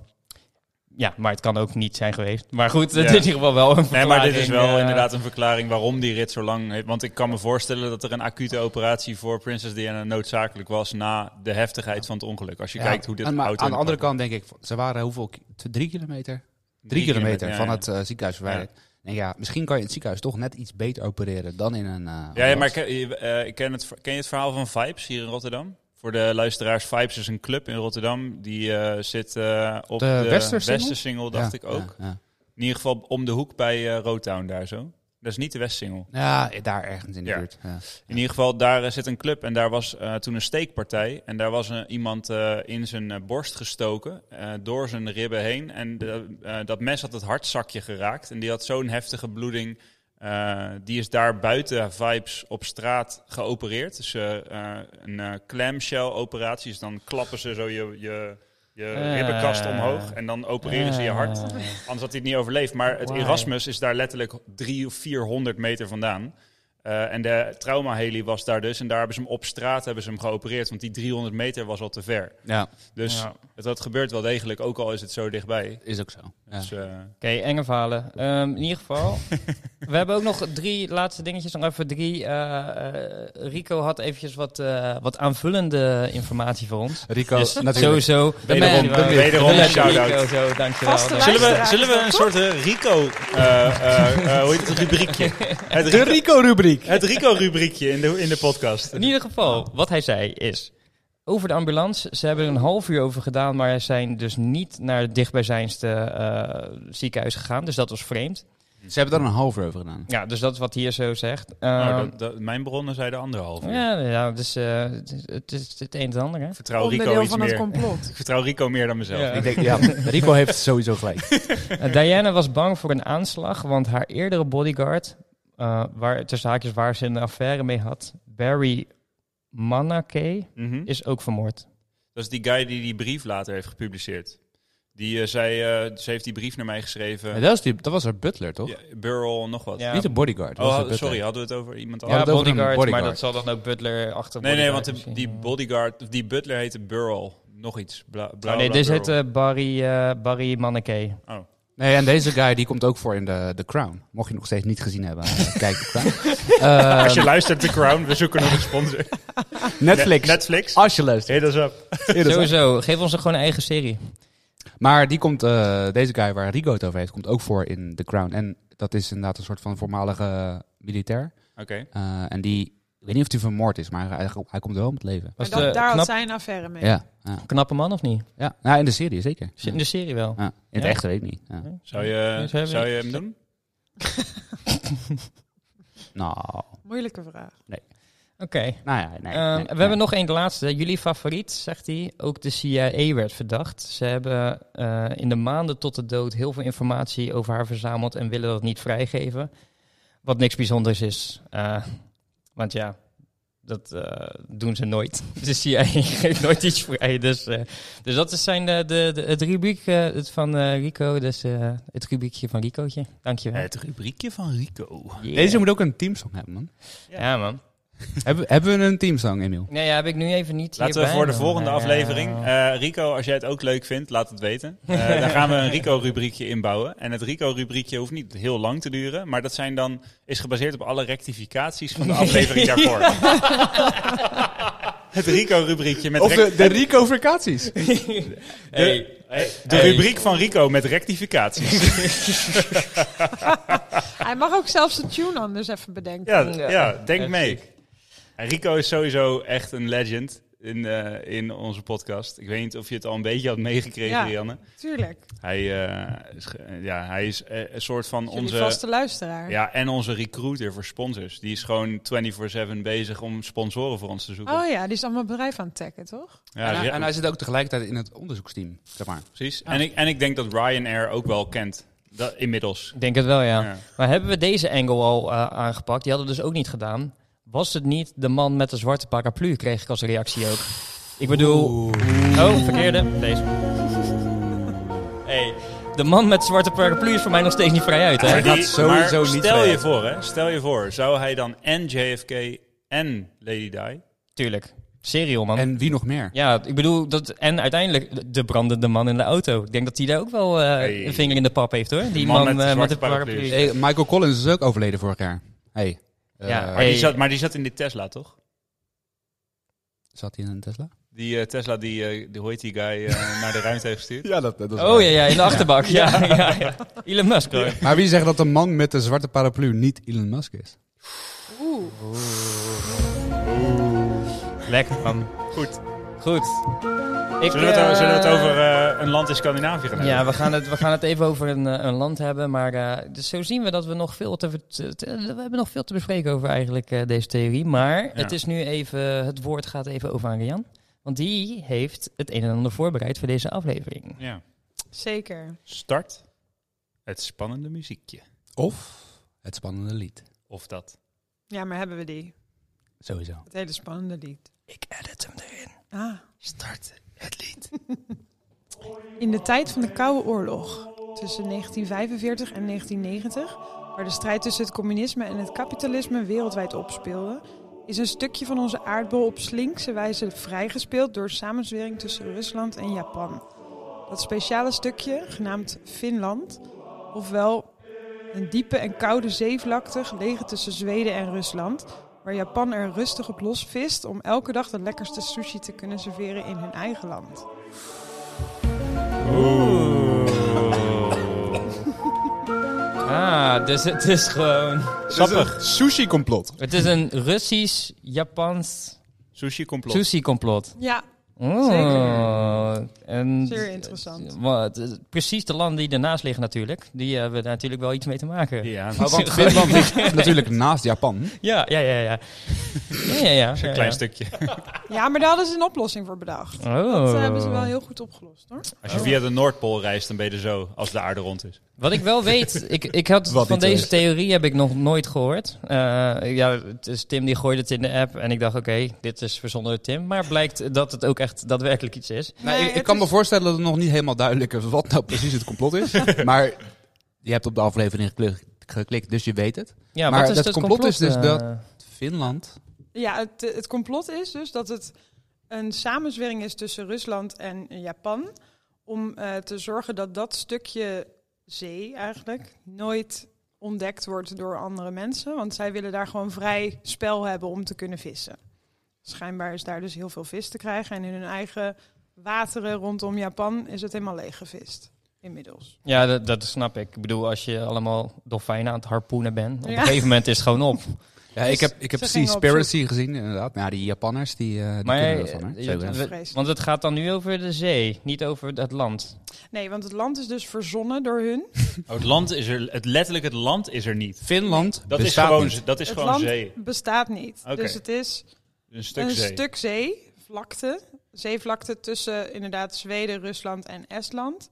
S2: Ja, maar het kan ook niet zijn geweest. Maar goed, het
S3: Ja.
S2: is [LAUGHS] in ieder geval wel een
S3: Nee, maar dit is wel
S2: verklaring, eh,
S3: inderdaad een verklaring waarom die rit zo lang heeft. Want ik kan me voorstellen dat er een acute operatie voor Prinses Diana noodzakelijk was na de heftigheid van het ongeluk. Als je
S4: Ja,
S3: kijkt hoe dit
S4: en maar
S3: auto
S4: aan de andere kant denk ik, ze waren hoeveel? ki- t- Drie kilometer? Drie, kilometer
S3: ja,
S4: van
S3: ja.
S4: het eh, ziekenhuis verwijderd. En ja, misschien kan je in het ziekenhuis toch net iets beter opereren dan in een. eh,
S3: Ja, ja,
S4: ambulance.
S3: maar ken, je- eh, ik ken, het, ver- ken je het verhaal van Vibes hier in Rotterdam? Voor de luisteraars, Vibes is een club in Rotterdam. Die eh, zit eh, op
S4: De
S3: de,
S4: Westersingel?
S3: Westersingel, dacht
S4: Ja,
S3: ik ook.
S4: Ja, ja.
S3: In ieder geval om de hoek bij eh Rotown daar zo. Dat is niet de Westsingel.
S4: Ja, daar ergens in de
S3: Ja.
S4: buurt. Ja.
S3: In ieder geval, daar eh, zit een club en daar was eh, toen een steekpartij. En daar was eh, iemand eh, in zijn eh, borst gestoken, eh, door zijn ribben heen. En de- eh, dat mes had het hartzakje geraakt. En die had zo'n heftige bloeding Eh, die is daar buiten Vibes op straat geopereerd. Dus eh, eh, een eh, clamshell-operatie. Dus dan klappen ze zo je, je, je
S2: Eh.
S3: ribbenkast omhoog en dan opereren ze je hart.
S2: Ah.
S3: Anders had hij het niet overleefd. Maar het
S2: Wauw.
S3: Erasmus is daar letterlijk drie of 400 meter vandaan. Eh, en de trauma-heli was daar dus. En daar hebben ze hem op straat hebben ze hem geopereerd. Want die 300 meter was al te ver.
S4: Ja,
S3: Dus
S2: eh, Ja.
S3: het, dat gebeurt wel degelijk, ook al is het zo dichtbij.
S4: is ook zo. Ja.
S3: Dus, eh,
S2: Oké, enge verhalen. Ehm, in ieder
S3: [LAUGHS]
S2: geval, we hebben ook nog drie laatste dingetjes. Nog even drie. Eh, eh, Rico had eventjes wat, eh, wat aanvullende informatie voor ons.
S4: Rico,
S2: Dus
S4: natuurlijk.
S2: sowieso.
S4: Wederom,
S2: de man.
S4: de man.
S3: Wederom
S2: De
S3: een shout-out.
S2: Rico, zo, dankjewel.
S5: Vaste
S2: Dank-
S3: zullen, we,
S5: luisteraars
S3: zullen we
S5: dan,
S3: een soort eh, Rico, eh, eh, eh, hoe heet het, rubriekje? Het
S4: De
S3: Rico,
S4: Rico-rubriek.
S3: het Rico rubriekje in de, in de podcast.
S2: In ieder geval, wat hij zei is... Over de ambulance, ze hebben er een half uur over gedaan... maar zijn dus niet naar het dichtbijzijnste eh, ziekenhuis gegaan. Dus dat was vreemd.
S4: Ze hebben daar een half uur over gedaan.
S2: Ja, dus dat is wat hij hier zo zegt.
S3: Nou,
S2: Ehm,
S3: dat- dat- mijn bronnen zeiden anderhalf uur.
S2: ja, ja, dus eh, het is- het is het een en het ander, hè? [LAUGHS]
S3: Ik vertrouw Rico
S5: onderdeel
S3: iets
S5: van het
S3: meer.
S5: complot.
S3: Ik vertrouw Rico meer dan mezelf.
S2: Ja.
S3: Ik-
S4: Ik denk, ja, [LAUGHS] Rico heeft sowieso gelijk.
S2: Eh, Diana was bang voor een aanslag, want haar eerdere bodyguard, eh, waar, tussen haakjes waar ze een affaire mee had, Barry Manakee,
S3: Mhm.
S2: is ook vermoord.
S3: Dat is die guy die die brief later heeft gepubliceerd. Die eh, zei, eh, ze heeft die brief naar mij geschreven.
S4: dat, was die, dat was haar butler, toch?
S3: Ja, Burl, nog wat.
S2: Ja.
S4: Niet een bodyguard. dat
S3: Oh,
S4: was haar
S3: had-
S4: butler.
S3: sorry, hadden we het over iemand
S2: Ja,
S3: anders?
S4: het
S2: bodyguard,
S4: over een
S2: maar dat
S4: bodyguard.
S2: zal dan ook Butler achter
S3: nee, nee,
S2: bodyguard
S3: want de-
S2: misschien.
S3: die bodyguard, of die butler heette Burl. Nog iets. Bla, bla,
S2: Oh, nee,
S3: bla,
S2: deze
S3: Burl.
S2: heet eh, Barry, eh Barry Manakee.
S4: Nee, en deze guy die komt ook voor in de The Crown. Mocht je nog steeds niet gezien hebben, eh, kijk The Crown. Eh,
S3: Als je luistert, The Crown, we zoeken nog een sponsor.
S4: Netflix.
S3: Ne- Netflix.
S2: Ah.
S4: Als je luistert.
S3: Hit us up.
S2: Sowieso, geef ons er gewoon een eigen serie.
S4: Maar die komt, eh, deze guy waar Rico het over heeft, komt ook voor in The Crown. En dat is inderdaad een soort van voormalige militair.
S3: Oké.
S4: Eh, en die, ik weet niet of hij vermoord is, maar hij, hij komt wel om het leven.
S2: Was
S5: Maar dat,
S2: de
S5: daar had
S2: knap-
S5: zij een affaire mee.
S4: Ja, ja,
S2: Knappe man of niet?
S4: ja. Nou, in de serie zeker.
S2: Zit in de serie wel.
S4: Ja, in het
S2: Ja.
S4: echte weet ik niet. Ja.
S3: Zou je,
S2: zou je-
S3: zou je hem doen?
S4: Nou,
S5: Moeilijke vraag.
S2: Oké.
S4: nou ja, nee. nee,
S2: Ehm,
S4: nee.
S2: we hebben nog één de laatste. Jullie favoriet, zegt hij. Ook de CIA werd verdacht. Ze hebben eh, in de maanden tot de dood heel veel informatie over haar verzameld en willen dat niet vrijgeven. Wat niks bijzonders is. eh, want ja, dat eh, doen ze nooit. [LAUGHS] De CIA geeft nooit iets vrij. Dus, eh, dus dat is zijn de, de, de- het rubriek eh, het van eh, Rico. Dus eh, het rubriekje van Ricootje. Dankjewel.
S3: Het rubriekje van Rico.
S2: Yeah.
S4: Deze moet ook een teamsong hebben, man.
S2: Ja, man.
S4: [LAUGHS] hebben, hebben we een teamsong, Emiel?
S2: Nee, ja, heb ik nu even niet
S3: Laten we
S2: hierbij,
S3: voor de
S2: man.
S3: volgende
S2: Ja.
S3: aflevering... eh, Rico, als jij het ook leuk vindt, laat het weten. Eh, daar gaan we een Rico-rubriekje inbouwen. En het Rico-rubriekje hoeft niet heel lang te duren. Maar dat zijn dan, is gebaseerd op alle rectificaties van de aflevering daarvoor. het Rico-rubriekje met... rec- eh,
S4: Rico-vacaties.
S2: Hey.
S3: de
S2: Hey.
S3: rubriek van Rico met rectificaties.
S5: Hij mag ook zelfs de tune anders even bedenken.
S3: Ja,
S2: Ja.
S3: ja, denk
S2: Ja,
S3: mee. En Rico is sowieso echt een legend in, eh, in onze podcast. Ik weet niet of je het al een beetje had meegekregen,
S5: Ja.
S3: Janne.
S5: Tuurlijk.
S3: Hij, eh, is, ge- ja, hij is eh, een soort van
S5: Jullie
S3: onze...
S5: vaste luisteraar.
S3: Ja, en onze recruiter voor sponsors. Die is gewoon 24-7 bezig om sponsoren voor ons te zoeken.
S5: Oh ja, die is allemaal bedrijf aan het tacken, toch?
S3: ja,
S4: en, hij,
S3: Ri-
S4: en hij zit ook tegelijkertijd in het onderzoeksteam, zeg maar.
S3: precies. En, ik, en ik denk dat Ryanair ook wel kent. Dat, inmiddels.
S2: Ik denk het wel, ja.
S3: Ja.
S2: Maar hebben we deze angle al eh, aangepakt? Die hadden we dus ook niet gedaan. Was het niet de man met de zwarte paraplu, kreeg ik als reactie ook. Ik bedoel... Oh, verkeerde. Deze. Hey, de man met de zwarte paraplu is voor mij nog steeds niet vrij uit, hè?
S3: Maar, die-
S4: gaat sowieso
S3: maar
S4: niet
S3: stel je
S4: verder.
S3: voor, hè. Stel je voor, zou hij dan en JFK en Lady Di...
S2: Tuurlijk. Serieel, man.
S4: En wie nog meer?
S2: Ja, ik bedoel, dat, en uiteindelijk de brandende man in de auto. Ik denk dat hij daar ook wel eh,
S3: Hey.
S2: een vinger in de pap heeft, hoor. Die
S3: Man
S2: man,
S3: met de
S2: eh, met
S3: zwarte
S2: de paraplu.
S3: paraplu.
S4: Hey, Michael Collins is ook overleden vorig jaar. Hey.
S2: Ja,
S4: eh,
S3: Maar,
S2: hey.
S3: die zat, maar die zat in die Tesla, toch?
S4: Zat hij in een Tesla?
S3: Die eh, Tesla die, eh die, hoe heet die guy, eh, naar de ruimte heeft
S4: [LAUGHS]
S3: gestuurd.
S4: Ja, dat, dat
S2: Oh ja, ja, in de achterbak. Ja, ja, ja. Elon Musk, hoor.
S4: Maar wie zegt dat de man met de zwarte paraplu niet Elon Musk is?
S5: Oeh.
S2: Lekker, man.
S3: Goed.
S2: Goed. Ik,
S3: Zullen we het,
S2: eh,
S3: zullen we het over eh, een land in Scandinavië gaan hebben?
S2: Ja, we gaan, het, we gaan het even over een, eh, een land hebben. Maar eh, dus zo zien we dat we nog veel te, ver- te- te- we hebben nog veel te bespreken over eigenlijk eh, deze theorie. Maar het is nu even, het woord gaat even over aan Rian. Want die heeft het een en ander voorbereid voor deze aflevering.
S3: Ja.
S5: Zeker.
S3: Start het spannende muziekje.
S4: Of Het spannende
S2: [LAUGHS]
S4: lied.
S3: Of dat.
S5: Ja, maar hebben we die?
S4: Sowieso.
S5: Het hele spannende lied.
S2: Ik edit hem erin.
S5: Ah,
S2: Start het lied.
S5: in de tijd van de Koude Oorlog, tussen 1945 en 1990, waar de strijd tussen het communisme en het kapitalisme wereldwijd opspeelde, is een stukje van onze aardbol op slinkse wijze vrijgespeeld door samenzwering tussen Rusland en Japan. Dat speciale stukje, genaamd Finland, ofwel een diepe en koude zeevlakte gelegen tussen Zweden en Rusland, waar Japan er rustig op los vist om elke dag de lekkerste sushi te kunnen serveren in hun eigen land.
S2: Ah, dus het is gewoon...
S3: Sappig.
S4: Sushi-complot.
S2: Het is een Russisch-Japans
S3: Sushi-complot.
S2: sushi-complot.
S5: Ja,
S2: Oh. En
S5: Zeer interessant.
S2: Wat, eh, precies de landen die ernaast liggen natuurlijk. Die hebben daar natuurlijk wel iets mee te maken. Ja,
S3: Ja,
S4: Maar want Finland
S2: [LAUGHS]
S4: ligt natuurlijk naast Japan.
S2: ja, ja, ja. ja. ja, ja,
S4: [LAUGHS]
S2: ja,
S3: een
S2: ja.
S3: klein stukje.
S5: Ja, maar daar hadden ze een oplossing voor bedacht.
S2: Oh.
S5: Dat eh, hebben ze wel heel goed opgelost hoor.
S3: Als je via de Noordpool reist, dan ben je er zo, als de aarde rond is.
S2: Wat ik wel weet, ik, ik had
S4: [LAUGHS] Wat
S2: van
S4: niet eh.
S2: deze
S4: is.
S2: theorie heb ik nog nooit gehoord. Eh, ja, het is Tim die gooide het in de app en ik dacht, oké, dit is verzonnen door Tim. Maar blijkt dat het ook echt daadwerkelijk iets is.
S4: Nou, ik, ik
S5: het
S4: kan
S5: is-
S4: me voorstellen dat het nog niet helemaal duidelijk is wat nou precies het complot is. maar je hebt op de aflevering geklik- geklikt, dus je weet het.
S2: Ja,
S4: Maar
S2: wat is
S4: dat
S2: het
S4: complot is dus
S2: eh?
S4: dat- Finland.
S5: Ja, het, eh, het complot is dus dat het een samenzwering is tussen Rusland en Japan. Om eh, te zorgen dat dat stukje zee eigenlijk nooit ontdekt wordt door andere mensen. Want zij willen daar gewoon vrij spel hebben om te kunnen vissen. Schijnbaar is daar dus heel veel vis te krijgen. En in hun eigen wateren rondom Japan is het helemaal leeggevist. Inmiddels.
S2: Ja, dat, dat snap ik. Ik bedoel, als je allemaal dolfijnen aan het harpoenen bent, op
S5: Ja.
S2: een gegeven moment is het gewoon
S5: [LAUGHS]
S2: op.
S4: Ja,
S5: Dus
S4: ik heb, ik heb
S5: ze gingen op
S4: Seaspiracy gezien, inderdaad. Nou, die Japanners, die, eh die
S2: Maar
S4: kunnen ervan.
S2: eh,
S4: Hè?
S2: je-
S4: Sowieso.
S2: we-
S5: Vreselijk.
S2: want het gaat dan nu over de zee, niet over het land.
S5: Nee, want het land is dus verzonnen door hun.
S3: Oh, het land is er, het, letterlijk het land is er niet.
S4: Finland
S3: Dat is
S4: bestaat
S3: gewoon,
S4: niet.
S3: dat is
S5: het
S3: gewoon
S5: land
S3: zee.
S5: bestaat niet.
S3: Oké.
S5: Dus het is
S3: Een stuk
S5: een
S3: zee.
S5: stuk zee, vlakte, zeevlakte tussen inderdaad Zweden, Rusland en Estland.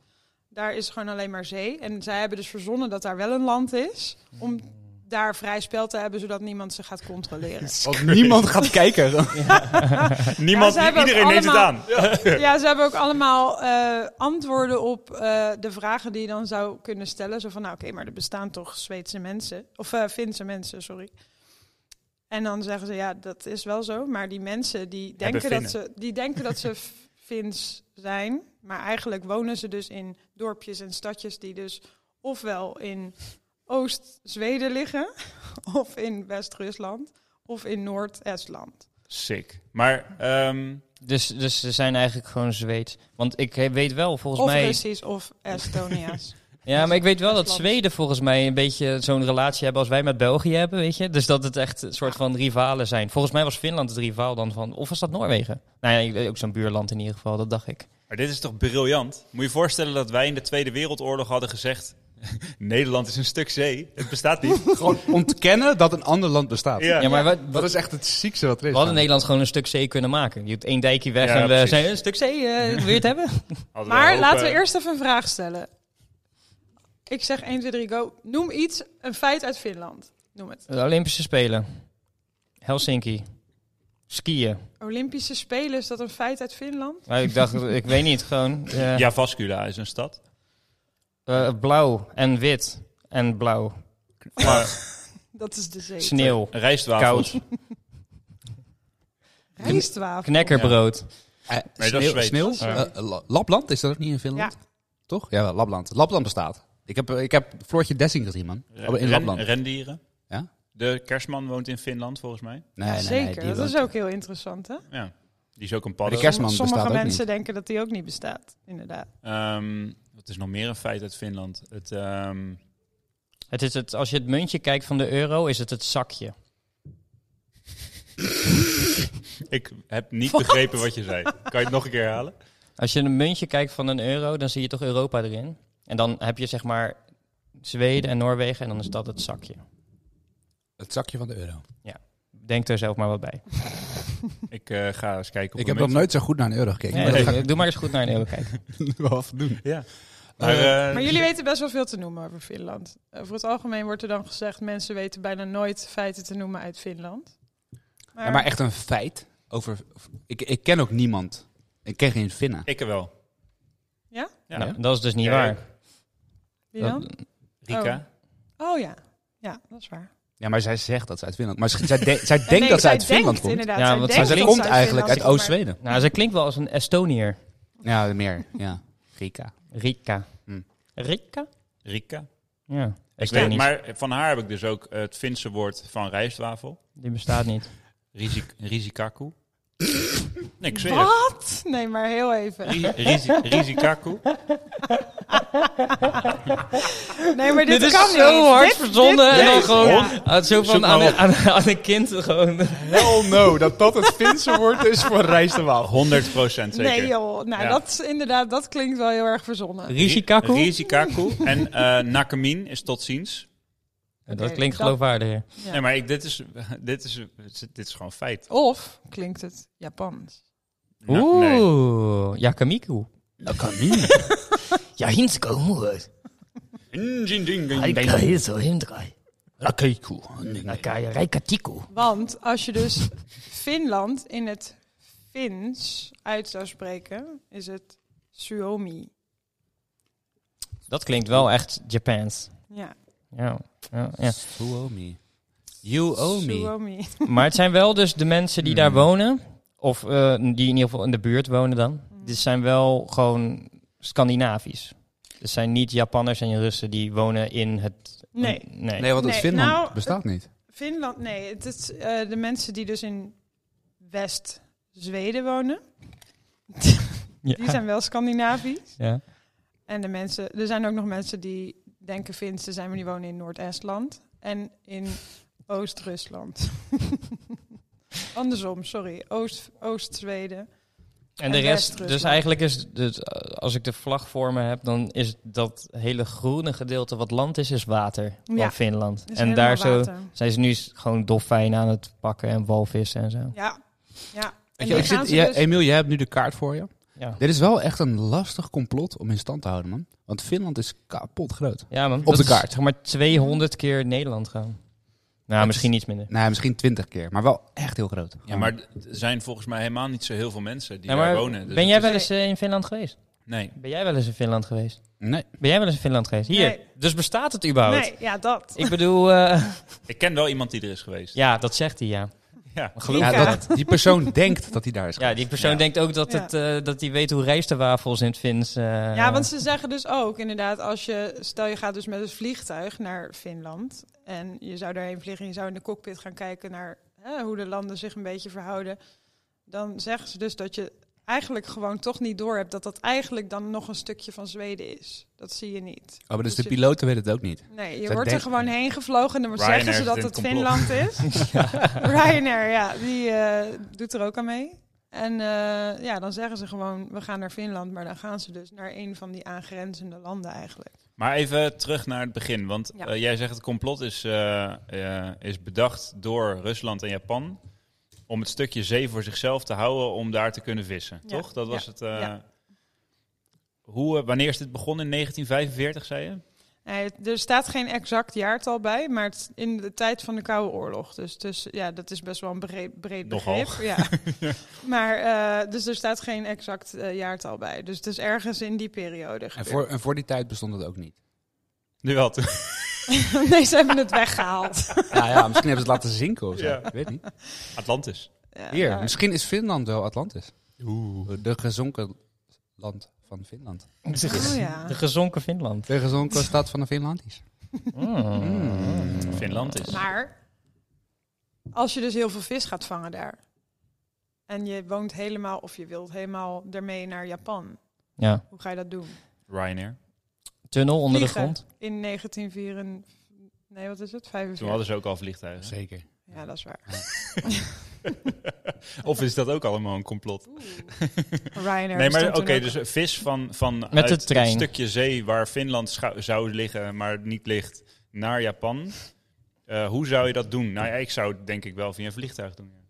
S5: Daar is gewoon alleen maar zee. En zij hebben dus verzonnen dat daar wel een land is, om
S3: Hmm.
S5: daar vrij spel te hebben, zodat niemand ze gaat
S3: [LAUGHS]
S5: controleren.
S4: Want [LAUGHS] niemand gaat kijken.
S5: Ja,
S3: Niemand,
S5: ze hebben
S3: iedereen
S5: ook
S3: neemt het aan.
S5: allemaal- ja, ze hebben ook allemaal eh, antwoorden op eh, de vragen die je dan zou kunnen stellen. Zo van, nou oké, maar er bestaan toch Zweedse mensen, of eh, Finse mensen, sorry. En dan zeggen ze, ja, dat is wel zo, maar die mensen die
S3: Hebben
S5: denken, dat ze, die denken dat ze F- Fins zijn, maar eigenlijk wonen ze dus in dorpjes en stadjes die dus ofwel in Oost-Zweden liggen, [LAUGHS] of in West-Rusland, of in Noord-Estland.
S3: Sick. Maar ehm,
S2: Dus, dus ze zijn eigenlijk gewoon Zweeds. Want ik he- weet wel, volgens
S5: of
S2: mij...
S5: Russisch
S2: [LAUGHS]
S5: of Estonia's.
S2: Ja, maar ik weet wel dat
S5: Rusland.
S2: Zweden volgens mij een beetje zo'n relatie hebben als wij met België hebben, weet je? Dus dat het echt een soort van rivalen zijn. Volgens mij was Finland het rivaal dan van... Of was dat Noorwegen? Nou ja, ik weet ook zo'n buurland in ieder geval, dat dacht ik.
S3: Maar dit is toch briljant? Moet je voorstellen dat wij in de Tweede Wereldoorlog hadden gezegd... [LAUGHS] Nederland is een stuk zee. Het bestaat niet.
S4: gewoon ontkennen dat een ander land bestaat.
S3: Ja.
S2: Ja, maar wat, wat-
S4: Dat is echt het ziekste wat er is. Eh,
S2: we hadden Nederland gewoon een e- stuk zee kunnen maken. Je doet één dijkje weg
S3: Ja,
S2: en we
S3: precies.
S2: zijn een stuk zee, eh wil je het
S4: [LAUGHS]
S2: hebben?
S3: Hadden
S5: maar
S3: hopen-
S5: laten we eerst even een vraag stellen. Ik zeg 1, 2, 3, go. Noem iets, een feit uit Finland. Noem het.
S2: De Olympische Spelen. Helsinki. Skiën.
S5: Olympische Spelen, is dat een feit uit Finland?
S2: Maar Nou, ik dacht, ik weet niet, gewoon eh,
S3: Ja, Vascula is een stad.
S2: eh, blauw en wit en blauw.
S3: [LAUGHS] Maar
S5: Dat is de zee.
S2: Sneeuw.
S3: rijstwafels.
S2: Koud.
S5: Rijstwafel.
S2: Knekkerbrood.
S4: Eh,
S3: Nee, dat
S4: sneeuw,
S3: is Zweeds.
S4: sneeuw?
S2: Ja.
S4: Eh, La- Lapland, is dat ook niet in Finland?
S5: Ja.
S4: Toch? Ja, wel, Lapland. Lapland bestaat. Ik heb, eh, ik heb Floortje Dessing gezien, man. Oh, in
S3: Ren-
S4: Lapland.
S3: rendieren.
S4: Ja?
S3: De kerstman woont in Finland, volgens mij.
S4: Nee, nee, nee,
S5: Zeker,
S4: die
S5: dat
S4: woont-
S5: is ook heel interessant, hè?
S3: Ja. Die is ook een
S4: Maar de
S3: padden.
S4: kerst- Kerstman
S5: Sommige
S4: bestaat ook
S5: mensen denken dat die ook niet bestaat, inderdaad.
S3: Ehm, wat is nog meer een feit uit Finland? Het, ehm,
S2: Het is het, als je het muntje kijkt van de euro, is het het zakje.
S3: ik heb niet begrepen wat je zei. Kan je het nog een keer herhalen?
S2: Als je een muntje kijkt van een euro, dan zie je toch Europa erin. En dan heb je zeg maar Zweden en Noorwegen en dan is dat het zakje.
S4: Het zakje van de euro.
S2: Denk er zelf maar wat bij.
S3: Ik eh, ga eens kijken. Op
S4: Ik heb
S3: een
S4: nog
S3: munt.
S4: nooit zo goed naar een euro gekeken.
S2: Nee,
S4: maar dat [LAUGHS]
S2: doe- doe maar eens goed naar een euro kijken.
S4: ga ik nu wel even doen.
S3: Ja. Maar,
S4: Eh,
S3: eh,
S5: Maar jullie weten best wel veel te noemen over Finland. Eh, voor het algemeen wordt er dan gezegd, mensen weten bijna nooit feiten te noemen uit Finland. Maar,
S4: ja, maar echt een feit over... Ik, ik ken ook niemand. Ik ken geen Finnen.
S3: Ik er
S5: Oh.
S3: wel.
S5: Ja?
S3: Ja.
S2: Nou, dat is dus niet
S3: Ja,
S2: waar.
S3: ik.
S5: wie dan?
S2: Dat-
S3: Rika.
S5: Oh ja, ja, dat is waar.
S4: Ja, maar zij zegt dat ze uit Finland... Maar ze- zij, de-
S5: [LAUGHS]
S4: zij denkt
S5: Nee,
S4: dat ze
S5: zij
S4: uit Finland
S5: denkt
S4: komt.
S5: Inderdaad,
S2: Ja,
S5: zij
S2: want
S5: denkt
S4: Maar
S2: zij
S4: ze
S5: dat
S4: komt
S5: uit
S4: eigenlijk uit
S5: Finland komt, maar-
S4: Oost-Zweden.
S2: nou, ze klinkt wel als een Estoniër.
S4: Ja, meer. Ja. Rika.
S2: Rika.
S4: Hm.
S2: Rika?
S3: Rika.
S2: Ja.
S3: Ik weet,
S2: Estonisch.
S3: maar van haar heb ik dus ook het Finse woord van rijstwafel.
S2: Die bestaat niet.
S3: Rizik,
S4: [LAUGHS]
S3: rizikaku. nee, ik zweer het.
S5: Wat? Nee, maar heel
S4: [LAUGHS]
S5: even.
S3: Ri- rizi- Rizikaku.
S5: Nee, maar dit,
S2: dit
S5: kan
S2: is zo
S5: niet.
S2: hard
S5: Dit-
S2: verzonnen.
S5: dit-
S2: en dan
S5: dit-
S2: gewoon
S5: ja.
S2: aan, zo
S3: Zoek
S2: van
S3: maar
S2: aan,
S3: op.
S2: aan, aan een kind gewoon.
S4: Hell Oh no, dat dat het Finse woord is voor rijstewafel.
S3: 100 zeker.
S5: Nee joh, nou
S3: Ja.
S5: dat is inderdaad, dat klinkt wel heel erg verzonnen.
S3: Ri-
S2: Rishikaku?
S3: Rizikaku. En eh Nakamin is tot ziens.
S2: dat
S5: Oké,
S2: klinkt
S5: dat-
S2: geloofwaardiger.
S5: Ja.
S3: Nee, maar ik, dit, is, dit, is, dit is gewoon feit.
S5: Of klinkt het Japans?
S3: Na- nee.
S2: Oeh, Yakamiku.
S4: Dat kan niet.
S2: Ja, Hinsko moet. zo hindrai.
S4: Rakeiku.
S2: Nakaya Reikatiku.
S5: Want als je
S2: [LAUGHS]
S5: dus Finland in het Fins uit zou spreken, is het Suomi.
S2: Dat klinkt wel echt Japans.
S5: Ja,
S2: Ja, ja, ja.
S4: Who owe me? You owe me.
S5: Suomi.
S2: Maar het zijn wel dus de mensen die daar
S3: Hmm.
S4: Mm.
S2: wonen, of eh, die in ieder geval in de buurt wonen dan.
S5: Hmm.
S2: Dit zijn wel gewoon Scandinavisch. Dus Het zijn niet Japanners en Russen die wonen in het...
S5: Nee,
S2: nee.
S4: Nee, want het
S5: Nee,
S4: Finland
S5: nou,
S4: bestaat niet.
S5: Finland, nee. Het is eh, de mensen die dus in West-Zweden wonen,
S2: Ja.
S5: die zijn wel Scandinavisch.
S2: Ja.
S5: En de mensen, er zijn ook nog mensen die denken Fins te zijn, maar die wonen in Noord-Estland en in Oost-Rusland. [LAUGHS] Andersom, sorry. Oost- Oost-Zweden.
S2: En de rest,
S5: En West-Rusland.
S2: dus eigenlijk is, dus, eh, als ik de vlag voor me heb, dan is dat hele groene gedeelte wat land is, is water van
S5: Ja.
S2: Finland.
S5: Is
S2: en
S5: helemaal
S2: daar zo
S5: water.
S2: zijn ze nu s- gewoon dolfijnen aan het pakken en walvissen en zo.
S5: Ja, ja. En
S4: Weet je,
S5: die
S4: ik
S5: gaan
S4: zit,
S5: ze
S4: ja,
S5: dus-
S4: Emiel, jij hebt nu de kaart voor je.
S2: Ja,
S4: Dit is wel echt een lastig complot om in stand te houden, man. Want Finland is kapot groot.
S2: ja man.
S4: Op
S2: dat
S4: de
S2: is
S4: kaart.
S2: zeg maar 200 keer Nederland gaan. Nou, misschien iets minder.
S4: Nou, misschien twintig keer, maar wel echt heel groot.
S3: Ja, maar d- er zijn volgens mij helemaal niet zo heel veel mensen die
S2: Ja,
S3: daar
S2: maar
S3: wonen. Dus
S2: ben jij
S3: het
S2: wel eens eh, in Finland geweest?
S3: is- Nee.
S2: Ben jij wel eens in Finland geweest?
S4: Nee.
S2: Ben jij wel eens in Finland geweest? Hier,
S5: Nee.
S2: dus bestaat het überhaupt?
S5: Nee, ja, dat.
S2: Ik bedoel, eh, [LAUGHS]
S3: Ik ken wel iemand die er is geweest.
S2: ja, dat zegt hij, ja.
S3: Ja.
S2: Geloof
S5: Ja,
S2: me.
S5: dat-
S4: Die persoon [LAUGHS] denkt dat hij daar is.
S2: Ja, die persoon
S3: Ja.
S2: denkt ook dat
S5: Ja.
S2: het, eh, dat hij weet hoe rijstewafels in het Fins... eh,
S5: Ja, want ze zeggen dus ook inderdaad, als je, stel je gaat dus met een vliegtuig naar Finland en je zou daarheen vliegen en je zou in de cockpit gaan kijken naar hè, hoe de landen zich een beetje verhouden, dan zeggen ze dus dat je eigenlijk gewoon toch niet door hebt dat dat eigenlijk dan nog een stukje van Zweden is. Dat zie je niet.
S4: Oh, maar dus de piloten weten het ook niet.
S5: Nee, je
S4: Zij
S5: wordt er
S4: denken-
S5: gewoon heen gevlogen en dan
S3: Ryanair
S5: zeggen ze
S3: zit
S5: dat
S3: in
S5: het
S3: het
S5: Finland is.
S3: [LAUGHS]
S5: Ryanair, ja, die eh, doet er ook aan mee. En eh, ja, dan zeggen ze gewoon, we gaan naar Finland, maar dan gaan ze dus naar een van die aangrenzende landen eigenlijk.
S3: Maar even terug naar het begin. Want
S5: Ja.
S3: eh, jij zegt het complot is, eh, eh, is bedacht door Rusland en Japan. Om het stukje zee voor zichzelf te houden om daar te kunnen vissen.
S5: Ja.
S3: Toch? Dat was
S5: Ja.
S3: het. eh,
S5: Ja.
S3: hoe, eh, wanneer is dit begonnen? In 1945, zei je?
S5: Nee, het- er staat geen exact jaartal bij, maar het is in de tijd van de Koude Oorlog. Dus, dus ja, dat is best wel een breed, breed
S3: Nogal.
S5: begrip.
S3: [LAUGHS]
S5: Ja. Maar eh, dus er staat geen exact eh, jaartal bij. Dus het is ergens in die periode.
S4: En
S5: gebeurd.
S4: voor, en voor die tijd bestond het ook
S3: [LAUGHS]
S4: niet.
S3: Nu wel. toen.
S5: [LAUGHS] nee, ze hebben het weggehaald.
S4: Ja, Nou ja, misschien hebben ze het laten zinken of zo.
S3: Ja.
S4: Ik weet niet.
S3: [LAUGHS] Atlantis.
S5: Ja,
S4: Hier,
S5: maar-
S4: misschien is Finland wel Atlantis.
S3: Oeh.
S4: De gezonken land van Finland.
S5: Oh, ja.
S2: De gezonken Finland.
S4: De gezonken stad van de Finlandis.
S3: Hmm.
S4: Mm.
S3: Finland is.
S5: Maar als je dus heel veel vis gaat vangen daar. En je woont helemaal of je wilt helemaal ermee naar Japan.
S2: Ja,
S5: Hoe ga je dat doen?
S3: Ryanair.
S2: tunnel onder
S5: Vliegen.
S2: de grond.
S5: In 1944. Nee, wat is het?
S3: Toen
S5: 45.
S3: hadden ze ook al vliegtuigen.
S4: Zeker.
S5: Ja, dat is waar.
S3: [LAUGHS] Of is dat ook allemaal een complot?
S5: [LAUGHS] Ryanair.
S3: Nee, maar
S5: bestond
S3: oké,
S5: toen ook.
S3: dus een vis van, van
S2: de
S3: uit
S2: trein.
S3: het stukje zee waar Finland schou- zou liggen, maar niet ligt, naar Japan. Eh, hoe zou je dat doen? Nou ja, ik zou het denk ik wel via een vliegtuig doen. ja.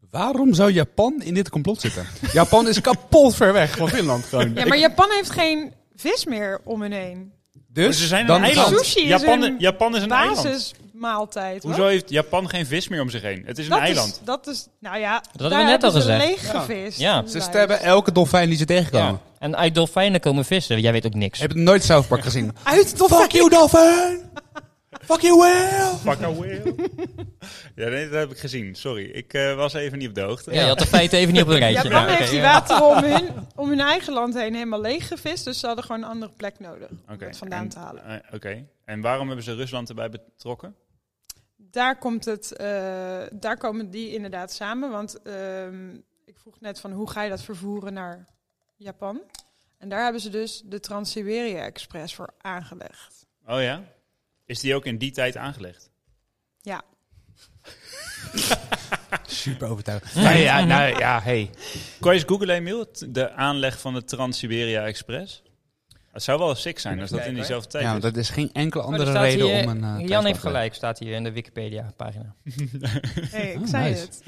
S2: Dus
S4: Waarom zou Japan in dit complot zitten? Japan is kapot ver weg van Finland gewoon.
S5: Ja, maar Japan heeft geen vis meer om hun heen.
S3: Dus
S4: Dus
S3: ze zijn
S4: dan
S3: een eiland.
S5: Sushi is
S3: Japan,
S5: een
S3: Japan is een eiland.
S5: Basismaaltijd.
S3: Hoezo heeft Japan geen vis meer om zich heen? Het is een
S5: Dat
S3: eiland.
S5: Is, dat is, nou ja,
S2: hadden we
S5: daar
S2: net al
S5: hebben ze
S2: gezegd.
S5: leeggevist.
S2: Ja. Ja.
S4: Ze stemmen elke dolfijn die ze tegenkomen.
S2: Ja. En uit dolfijnen komen vissen. Jij weet ook niks.
S4: Heb je nooit South Park gezien?
S5: [LAUGHS] Uit tot
S4: Fuck you, dolfijn! Fuck you, whale!
S3: Fuck a whale. [LAUGHS] ja, nee, dat heb ik gezien. Sorry, ik eh, was even niet op de hoogte.
S2: Ja, je had de feiten even niet
S4: [LAUGHS]
S2: op een rijtje.
S5: Japan
S2: Ja, oké,
S5: heeft die
S2: ja.
S5: wateren om hun, om hun eigen land heen helemaal leeggevist. Dus ze hadden gewoon een andere plek nodig om
S3: Oké,
S5: het vandaan
S3: en-
S5: te halen.
S3: eh, Oké, en waarom hebben ze Rusland erbij betrokken?
S5: Daar, komt het, eh, daar komen die inderdaad samen. Want ehm, ik vroeg net van hoe ga je dat vervoeren naar Japan? En daar hebben ze dus de Trans-Siberië Express voor aangelegd.
S3: Oh ja? Is die ook in die tijd aangelegd?
S5: Ja,
S4: Super overtuigd.
S3: nou ja, nou ja, hey. Kan je eens googlen, Emiel? T- De aanleg van de Trans-Siberia Express? Het zou wel sick zijn als dat in diezelfde tijd
S4: Ja,
S3: is.
S4: want dat is geen enkele
S2: Maar Oh, er
S4: andere
S2: staat
S4: Oh, reden
S2: hier-
S4: om een... eh,
S2: Jan heeft
S4: thuispartij.
S2: gelijk, staat hier in de Wikipedia-pagina.
S5: hey, ik
S4: Oh,
S5: zei
S4: nice.
S5: het.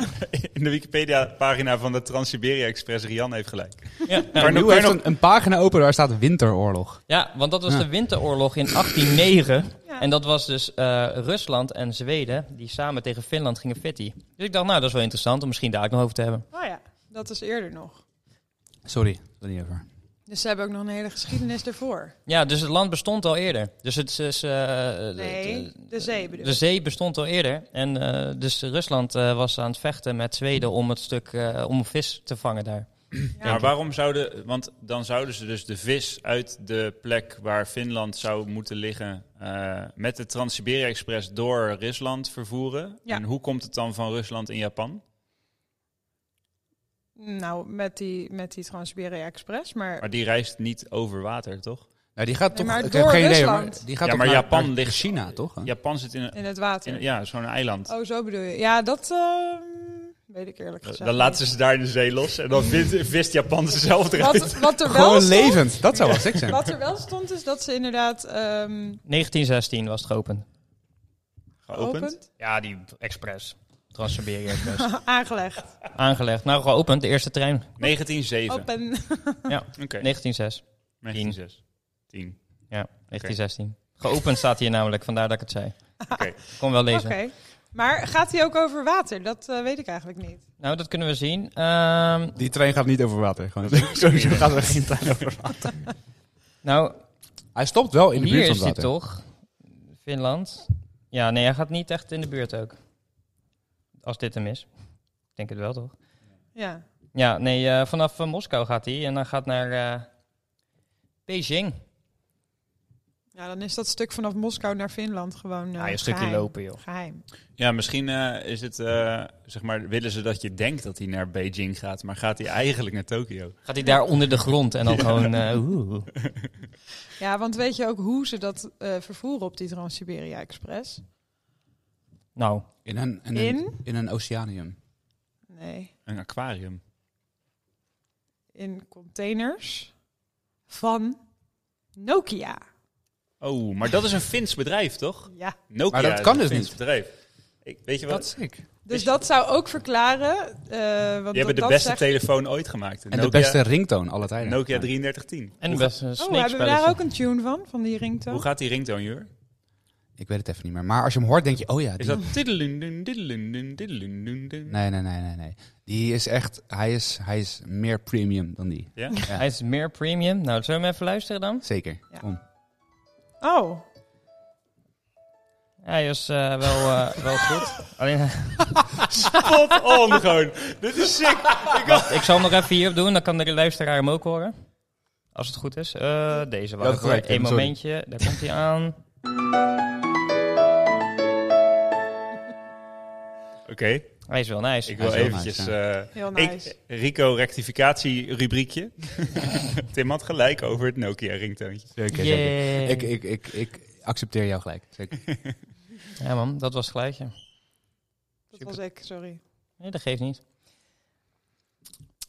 S3: [LAUGHS] In de Wikipedia-pagina van de Trans-Siberia Express, Rian heeft gelijk.
S2: Ja,
S3: Maar
S4: Nu
S3: nu
S4: heeft
S3: nog...
S4: een, een pagina open waar staat winteroorlog.
S2: ja, want dat was
S4: Ja.
S2: de winteroorlog
S4: [CLEARS THROAT]
S2: in 1809.
S5: Ja.
S2: En dat was dus eh, Rusland en Zweden die samen tegen Finland gingen fitty. Dus ik dacht, nou, dat is wel interessant om misschien daar ook nog over te hebben.
S5: Oh ja, dat is eerder nog.
S4: Sorry, dat niet over.
S5: Dus ze hebben ook nog een hele geschiedenis ervoor.
S2: Ja, dus het land bestond al eerder. Dus het is... eh, de-
S5: Nee,
S2: de-
S5: de zee bedoel
S2: De
S5: ik.
S2: zee bestond al eerder. En eh, dus Rusland eh, was aan het vechten met Zweden om het stuk eh, om vis te vangen daar.
S3: maar waarom zouden... Want dan zouden ze dus de vis uit de plek waar Finland zou moeten liggen... eh, met de Trans-Siberia Express door Rusland vervoeren.
S5: Ja.
S3: En hoe komt het dan van Rusland in Japan?
S5: Nou, met die, met die Trans-Siberië Express. Maar,
S3: Maar die reist niet over water, toch?
S4: Nou, die gaat
S5: Nee,
S4: toch...
S5: maar
S4: ik
S5: door
S4: heb geen idee, maar
S5: Rusland.
S4: die gaat
S3: Ja,
S4: toch
S3: maar
S4: naar-
S3: Japan
S4: naar
S3: ligt-
S4: China, toch? hè?
S3: Japan zit in... een-
S5: in het water.
S3: in ja, zo'n eiland.
S5: Oh, zo bedoel je. Ja, dat ehm, weet ik eerlijk gezegd.
S3: Eh, Dan laten ze ze daar in de zee los en dan vist, vist Japan ze zelf
S5: niet.
S3: eruit.
S5: wat, wat er wel
S4: Gewoon
S5: stond,
S4: levend. Dat zou wel sick zijn.
S5: Wat er wel stond is dat ze inderdaad ehm
S2: 1916 was het geopend.
S3: Geopend?
S5: geopend,
S2: Ja, die express. Trans-Siberië Express.
S5: [LAUGHS] aangelegd.
S2: Aangelegd. Nou, geopend, de eerste trein.
S3: 1907.
S5: Open. [LAUGHS]
S3: Oké,
S2: 1906.
S3: 1906. 10.
S2: Ja, 1916. Geopend staat hier namelijk, vandaar dat ik het zei.
S3: Oké.
S2: Kon wel
S5: Oké.
S2: lezen.
S5: Maar gaat hij ook over water? Dat eh, weet ik eigenlijk niet.
S2: Nou, dat kunnen we zien. Ehm,
S4: Die trein gaat niet over water. Gewoon. Sowieso gaat er geen trein over water.
S2: nou,
S4: Hij stopt wel in de
S2: hier
S4: buurt van
S2: is
S4: het
S2: hij
S4: water.
S2: toch. Finland. Ja, nee, hij gaat niet echt in de buurt ook. Als dit hem is. Ik denk het wel, toch?
S5: Ja.
S2: Ja, nee, eh, vanaf eh, Moskou gaat hij en dan gaat naar eh, Beijing.
S5: Ja, dan is dat stuk vanaf Moskou naar Finland gewoon eh
S2: Ah, een stukje
S5: geheim.
S2: lopen, joh.
S5: Geheim.
S3: Ja, misschien eh, is het, eh, zeg maar, willen ze dat je denkt dat hij naar Beijing gaat, maar gaat hij eigenlijk naar Tokio?
S2: Gaat hij daar onder de grond en dan gewoon... eh, oeh.
S5: Ja, want weet je ook hoe ze dat eh, vervoeren op die Trans-Siberia Express?
S2: Nou,
S4: In een, in,
S5: In?
S4: een, in een oceanium.
S5: Nee,
S3: Een aquarium.
S5: in containers van Nokia.
S3: Oh, maar dat is een Fins bedrijf, toch?
S5: Ja.
S3: Nokia
S4: Maar dat
S3: is
S4: kan
S3: een
S4: dus
S3: Fins
S4: niet.
S3: bedrijf. Ik, weet je wat?
S4: Dat is sick.
S5: Dus dat zou ook verklaren. eh want
S3: Die hebben
S5: dat,
S3: de
S5: dat
S3: beste
S5: zegt-
S3: telefoon ooit gemaakt.
S4: En de beste ringtoon alle tijden.
S3: Nokia
S4: Ja.
S3: 3310.
S2: en
S3: hoe,
S2: best een
S5: Oh, hebben we daar ook een tune van? Van die
S3: ga-
S5: ringtoon?
S3: hoe gaat die ringtoon, Jur?
S4: Ik weet het even niet meer. Maar als je hem hoort, denk je, oh ja.
S3: Is
S4: Die...
S3: dat... tiddeleundun, tiddeleundun, tiddeleundun?
S4: Nee, nee, nee, nee, nee. Die is echt, hij is, hij is meer premium dan die.
S3: Ja?
S2: Hij is meer premium. Nou, zullen we hem even luisteren dan?
S4: Zeker.
S5: Ja.
S4: Kom.
S5: Oh,
S2: Hij is eh, wel, eh, wel
S5: [LAUGHS]
S2: goed. Alleen, eh,
S3: [LAUGHS] Spot on gewoon. Oh, Dit is sick.
S2: wacht, ik zal hem nog even hierop doen, dan kan de luisteraar hem ook horen. Als het goed is. Eh, deze
S4: Ja,
S2: wacht.
S4: correct,
S2: Eén
S4: Tim, sorry.
S2: momentje, daar komt hij aan.
S3: Oké,
S2: Hij is wel nice.
S3: ik
S4: Hij
S3: wil
S4: is wel
S3: eventjes...
S4: nice,
S3: eh,
S5: heel
S3: Ik-
S5: nice.
S3: Rico rectificatie rubriekje. Tim had gelijk over het Nokia ringtoontje.
S4: Zeker, zeker.
S2: Yay.
S4: Ik, ik, ik, ik accepteer jou gelijk. Zeker.
S2: Ja man, dat was het geluidje.
S5: dat was ik, sorry.
S2: Nee, dat geeft niet.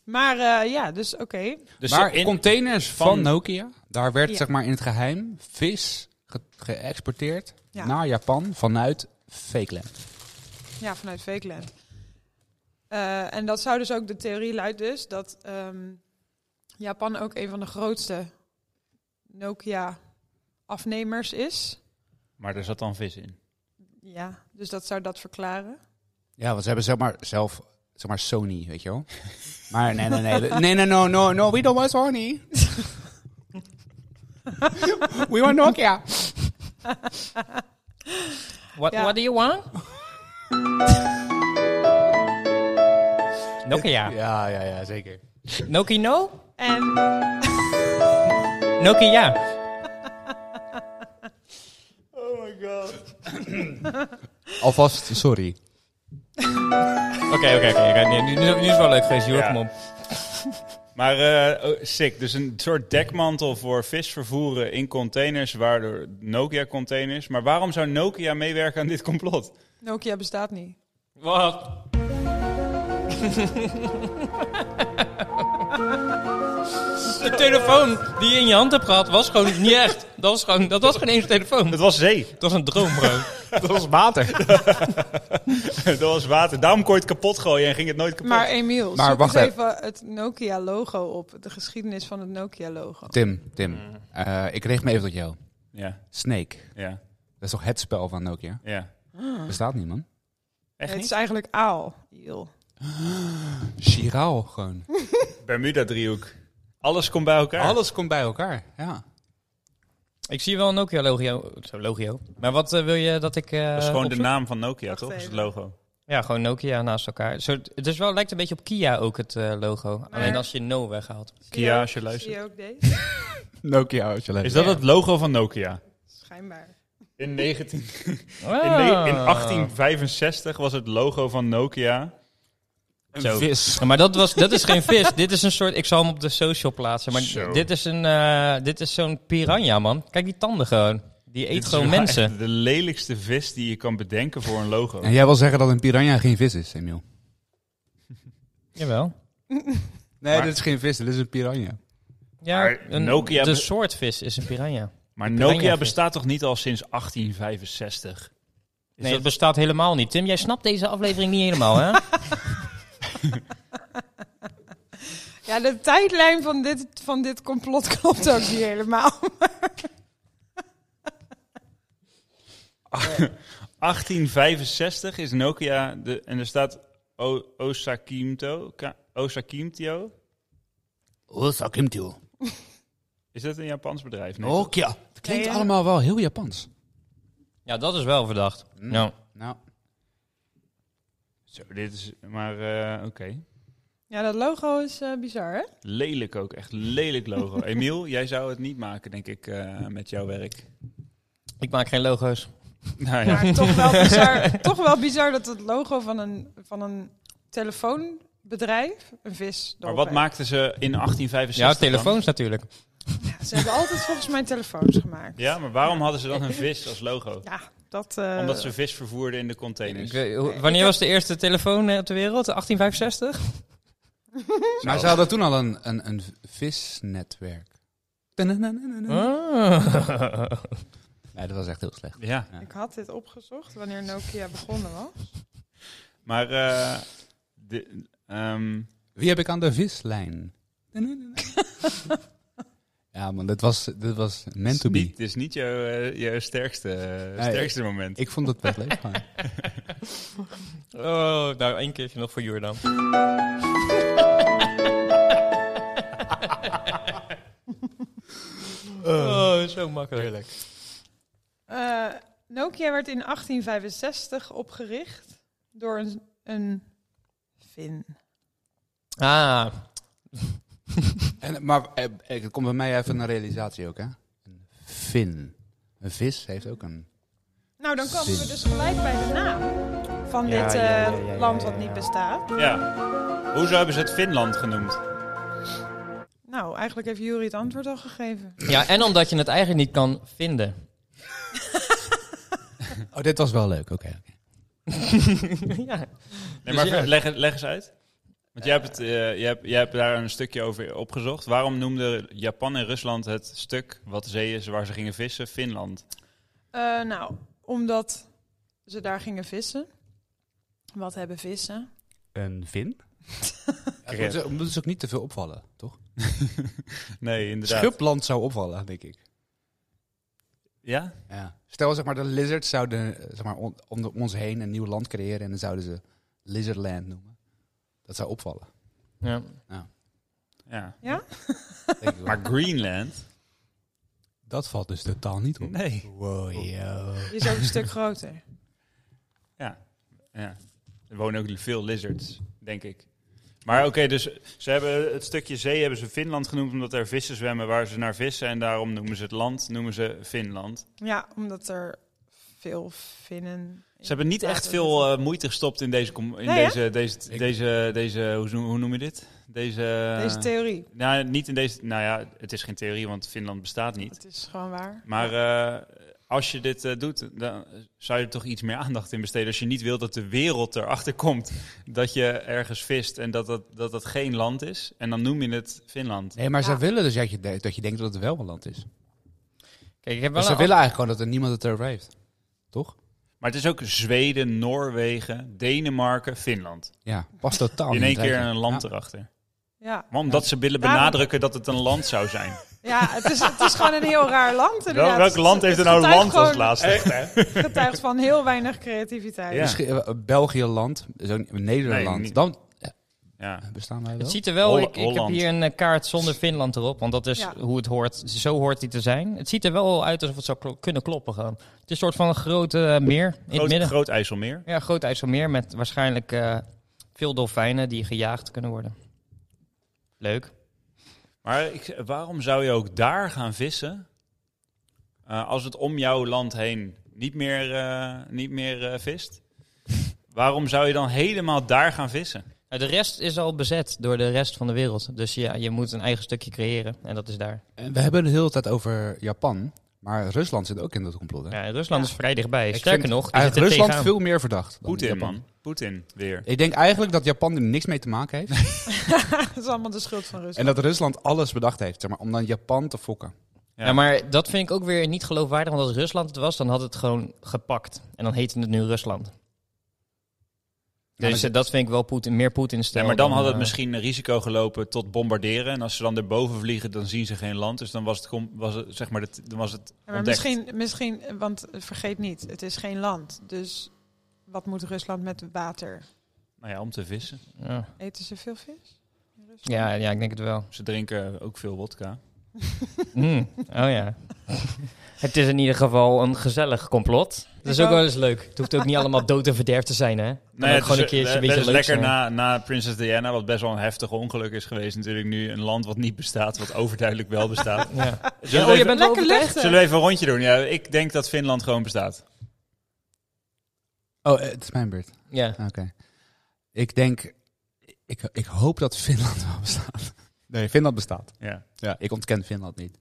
S5: Maar eh, ja, dus oké.
S3: Dus
S4: maar
S3: in-
S4: containers van,
S3: van-
S4: Nokia, daar werd
S5: Ja.
S4: zeg maar in het geheim vis ge- geëxporteerd
S5: Ja.
S4: naar Japan vanuit Fakeland.
S5: Ja, vanuit Fakeland. Eh, en dat zou dus ook, de theorie luidt dus, dat ehm, Japan ook een van de grootste Nokia afnemers is.
S3: Maar er zat dan vis in.
S5: Ja, dus dat zou dat verklaren.
S4: Ja, want ze hebben zeg maar zelf, zeg maar Sony, weet je wel. Maar nee, nee, nee. Nee, nee, no, no, no, we don't want Sony. We want Nokia.
S2: What,
S5: Ja.
S2: what do you [LAUGHS] want? Nokia.
S4: Ja, ja, ja, zeker.
S2: Nokia no?
S5: En
S2: Nokia ja.
S4: Alvast, sorry.
S2: Oké, oké, oké. oké. Nee, Nu, nu, nu is het wel leuk geweest. Jorik,
S3: Ja.
S2: kom op.
S3: Maar eh, oh, sick, dus een soort dekmantel voor vis vervoeren in containers, waardoor Nokia-containers. Maar waarom zou Nokia meewerken aan dit complot?
S5: Nokia bestaat niet.
S2: Wat? [LAUGHS] De telefoon die je in je hand hebt gehad was gewoon niet echt. Dat was gewoon, dat was geen eens een telefoon.
S3: Het was zee,
S2: Het was een droom, bro.
S4: Dat was water.
S3: [LAUGHS] dat was water. Daarom kon je het kapot gooien en ging het nooit kapot.
S5: Maar Emiel,
S4: Maar
S5: zoek
S4: wacht
S5: eens even het Nokia-logo op. De geschiedenis van het Nokia-logo.
S4: Tim, Tim. eh, ik richt me even tot jou.
S3: Ja,
S4: Snake.
S3: ja,
S4: Dat is toch het spel van Nokia?
S3: ja.
S4: Bestaat niet, man.
S3: Echt
S5: het is
S3: niet?
S5: eigenlijk aal. Eel.
S4: Chiraal gewoon.
S3: Bermuda-driehoek. Alles komt bij elkaar.
S4: Alles komt bij elkaar. Ja.
S2: Ik zie wel een Nokia-logio. Zo, logio. Maar wat eh, wil je dat ik... eh,
S3: Dat is gewoon de
S2: opzoek?
S3: naam van Nokia,
S5: Wacht
S3: toch? Dat is het
S5: even.
S3: logo.
S2: Ja, gewoon Nokia naast elkaar. Zo, het is wel, lijkt een beetje op Kia ook, het eh, logo. Alleen als je no weghaalt.
S5: Zie je
S3: Kia,
S5: ook-
S3: als je luistert.
S5: Zie je ook deze?
S4: Nokia, als je
S3: Is dat het logo van Nokia?
S5: [LAUGHS] Schijnbaar.
S3: In, 19, in, ne-
S2: Ah.
S3: in 1865 was het logo van Nokia.
S2: Zo.
S4: vis.
S2: Ja, maar dat, was, dat is geen vis. dit is een soort. Ik zal hem op de social plaatsen. Maar
S3: Zo.
S2: dit is, een, eh, dit is zo'n piranha, man. Kijk die tanden gewoon. Die eet
S3: Dit is
S2: gewoon
S3: wel
S2: mensen.
S3: echt de lelijkste vis die je kan bedenken voor een logo.
S4: En jij wil zeggen dat een piranha geen vis is, Emiel?
S2: Jawel.
S4: Nee,
S3: Maar-
S4: dit is geen vis, dit is een piranha.
S2: Ja,
S3: Maar
S2: een,
S3: Nokia
S2: de
S3: be-
S2: soort vis is een piranha.
S3: Maar
S2: Een piranha
S3: Nokia
S2: vis.
S3: bestaat toch niet al sinds 1865? Is
S2: Nee, dat
S3: dat-
S2: bestaat helemaal niet. Tim, jij snapt deze aflevering niet helemaal,
S3: [LAUGHS]
S2: hè?
S5: Ja, de tijdlijn van dit, van dit complot [LAUGHS] klopt ook niet helemaal.
S3: [LAUGHS] 1865 is Nokia de, en er staat o, Osakimto. Ka- Osakimtio.
S4: Oh, Sakimtio.
S3: Is dat een Japans bedrijf? Nee, toch?
S4: Nokia. Het klinkt
S5: Nee, ja.
S4: allemaal wel heel Japans.
S2: ja, dat is wel verdacht.
S3: Hm.
S2: Nou,
S4: Nou,
S3: Zo, dit is maar eh, oké.
S5: Ja, dat logo is eh, bizar, hè?
S3: Lelijk ook, echt lelijk [LAUGHS] logo. Emiel, jij zou het niet maken, denk ik, eh, met jouw werk.
S2: ik maak geen logo's.
S3: [LAUGHS] Nou ja. [LAUGHS]
S5: Maar toch wel bizar, toch wel bizar dat het logo van een, van een telefoonbedrijf een vis
S3: Maar
S5: erop
S3: wat
S5: heeft.
S3: maakten ze in 1865?
S2: Ja,
S3: dan?
S2: telefoons natuurlijk.
S5: Ja, Ze hebben altijd volgens mij telefoons gemaakt.
S3: Ja, maar waarom hadden ze dan een vis als logo?
S5: Ja, dat... eh,
S3: Omdat ze vis vervoerden in de
S2: Ik
S4: dus-
S3: containers.
S2: weet- hoe- wanneer was de eerste telefoon eh, op de wereld? 1865?
S4: maar ze hadden toen al een, een, een visnetwerk. Nee,
S2: Ah.
S4: dat was echt heel slecht.
S3: Ja,
S5: Ik had dit opgezocht wanneer Nokia begonnen was.
S3: maar eh, de, ehm,
S4: Wie heb ik aan de vislijn? [LAUGHS] ja, man, dit was, dit was meant to
S3: is niet-
S4: be.
S3: Het is niet jouw, eh, jouw sterkste, eh,
S4: Nee.
S3: sterkste moment.
S4: Ik vond het best leuk, man.
S2: [LAUGHS] Oh, nou, één keertje nog voor [LAUGHS] Jordan. oh, zo makkelijk.
S5: Eh, Nokia werd in 1865 opgericht door een, een Fin.
S2: Ah,
S4: [LAUGHS] En, maar eh, eh, het komt bij mij even een realisatie ook, hè? Een vin. Een vis heeft ook een...
S5: Nou, dan komen we dus gelijk bij de naam van
S2: Ja,
S5: dit
S2: ja,
S5: eh,
S2: ja, ja, ja,
S5: land
S2: ja,
S5: wat
S2: ja.
S5: niet bestaat.
S3: Ja. Hoezo hebben ze het Finland genoemd?
S5: Nou, eigenlijk heeft Jury het antwoord al gegeven.
S2: ja, en omdat je het eigenlijk niet kan vinden.
S4: Oh, dit was wel leuk, oké.
S2: [LAUGHS] ja.
S3: Nee, maar
S2: Dus ja.
S3: leg, leg eens uit. Want jij hebt, het, eh, jij, hebt, jij hebt daar een stukje over opgezocht. Waarom noemden Japan en Rusland het stuk wat zee is waar ze gingen vissen Finland?
S5: Eh, nou, omdat ze daar gingen vissen. [LAUGHS] Wat hebben vissen?
S4: Een vin? Het moet, ze- het moet dus ook niet te veel opvallen, toch?
S3: Nee, inderdaad.
S4: Schubland zou opvallen, denk ik.
S3: Ja?
S4: Ja. Stel, zeg maar, de lizards zouden eh, zeg maar, on- om de- om ons heen een nieuw land creëren en dan zouden ze Lizardland noemen. Dat zou [LAUGHS] opvallen.
S2: Ja.
S3: ja.
S4: denk ik wel.
S3: Maar Greenland?
S4: dat valt dus totaal niet op.
S3: Nee.
S4: Wow, yo.
S5: Die is ook een stuk groter.
S3: Ja. Er wonen ook veel lizards, denk ik. Maar oké, dus ze hebben het stukje zee hebben ze Finland genoemd omdat er vissen zwemmen waar ze naar vissen. En daarom noemen ze het land, noemen ze Finland.
S5: Ja, omdat er veel vinnen...
S3: Ze hebben niet echt veel eh, moeite gestopt in deze, com- in
S5: Nee, hè?
S3: deze, deze, deze,
S4: Ik-
S3: deze, hoe, noem- hoe noem je dit? Deze,
S5: Deze theorie.
S3: nou, niet in deze, nou ja, het is geen theorie, want Finland bestaat niet.
S5: Het is gewoon waar.
S3: Maar eh, als je dit eh, doet, dan zou je er toch iets meer aandacht in besteden. Als je niet wilt dat de wereld erachter komt dat je ergens vist en dat dat, dat, dat geen land is. En dan noem je het Finland.
S4: Nee, maar
S5: Ja.
S4: ze willen dus dat je, de- dat je denkt dat het wel een land is.
S2: Kijk, ik heb wel
S4: Maar ze
S2: een
S4: willen eigenlijk gewoon dat er niemand het erover heeft. Toch?
S3: Maar het is ook Zweden, Noorwegen, Denemarken, Finland.
S4: Ja, [LAUGHS] past totaal niet
S3: In één
S4: het
S3: keer
S4: rijtje.
S3: een land
S4: Ja.
S3: erachter.
S5: Ja,
S3: Maar omdat ze willen
S5: Daarom-
S3: benadrukken dat het een land zou
S5: [LAUGHS]
S3: zijn.
S5: ja het, is, het is gewoon een heel raar land.
S3: Wel,
S5: inderdaad.
S3: welk land heeft er
S5: Het
S3: nou een
S5: getuigt
S3: land als
S5: gewoon-
S3: laatste?
S5: Het getuigt van heel weinig creativiteit.
S3: Ja.
S4: Misschien, eh, België land, zo, Nederland.
S3: niet.
S4: dan
S3: Ja.
S4: bestaan wij wel.
S2: Het ziet er wel,
S3: Holl-
S2: ik, ik heb
S3: Holland.
S2: hier een eh, kaart zonder Finland erop, want dat is
S5: Ja.
S2: hoe het hoort. Zo hoort die te zijn. Het ziet er wel uit alsof het zou klo- kunnen kloppen gewoon. Het is een soort van een groot eh, meer in het
S3: Groot,
S2: midden.
S3: groot IJsselmeer.
S2: Ja, groot IJsselmeer met waarschijnlijk eh, veel dolfijnen die gejaagd kunnen worden. Leuk.
S3: Maar ik, waarom zou je ook daar gaan vissen eh, als het om jouw land heen niet meer, eh, niet meer eh, vist? waarom zou je dan helemaal daar gaan vissen?
S2: Nou, de rest is al bezet door de rest van de wereld. Dus ja, je moet een eigen stukje creëren en dat is daar.
S4: En eh, We hebben het de hele tijd over Japan, maar Rusland zit ook in dat complot. Hè?
S2: Ja, en Rusland
S5: Ja.
S2: is vrij dichtbij.
S4: Ik
S2: Sterker
S4: vind
S2: nog, die zit er
S4: eigenlijk Rusland
S2: tegenaan.
S4: veel meer verdacht. dan
S3: Poetin,
S4: Japan.
S3: man. Poetin weer.
S4: Ik denk eigenlijk dat Japan er niks mee te maken heeft.
S5: [LAUGHS] Dat is allemaal de schuld van Rusland.
S4: en dat Rusland alles bedacht heeft, zeg maar, om dan Japan te fokken.
S3: Ja.
S2: Ja. maar dat vind ik ook weer niet geloofwaardig. Want als Rusland het was, dan had het gewoon gepakt. En dan heette het nu Rusland.
S4: maar
S2: Dus
S4: ze-
S2: eh, dat vind ik wel Poetin, meer Poetin
S3: Ja,
S2: stel.
S3: maar dan had
S2: eh,
S3: het misschien een risico gelopen tot bombarderen. En als ze dan erboven vliegen, dan zien ze geen land. Dus dan was het, com- was het, zeg maar, het, dan was het
S5: Ja, maar
S3: ontdekt.
S5: misschien, misschien, want vergeet niet, het is geen land. Dus wat moet Rusland met water?
S3: Nou ja, om te vissen.
S2: Ja.
S5: Eten ze veel vis? in Rusland?
S2: Ja, ja, ik denk het wel.
S3: Ze drinken ook veel wodka.
S2: Mm.
S4: Hmm.
S2: Oh ja. [LAUGHS] het is in ieder geval een gezellig complot. Dat is
S5: Ik
S2: ook wel
S5: ook.
S2: eens leuk. Het hoeft ook niet allemaal dood en verderf te zijn, hè? Het kan
S3: ja,
S2: ook gewoon een
S3: het is,
S2: keertje een beetje
S3: eh, dat is
S2: leuk
S3: lekker
S2: zijn.
S3: na, na Princess Diana, wat best wel een heftig ongeluk is geweest. Natuurlijk nu een land wat niet bestaat, wat overduidelijk wel bestaat.
S2: [LAUGHS] Ja.
S3: Zullen,
S2: Oh, je
S3: we
S2: bent
S3: even,
S2: wel
S5: Lekker
S2: overtuigd?
S5: luchten.
S3: zullen we even een rondje doen? Ja, ik denk dat Finland gewoon bestaat.
S4: Oh, eh, het is mijn beurt.
S2: Ja.
S4: Oké. Ik denk, ik, ik hoop dat Finland wel bestaat. Nee, Finland bestaat.
S3: Ja.
S4: Ja, ik ontken Finland niet.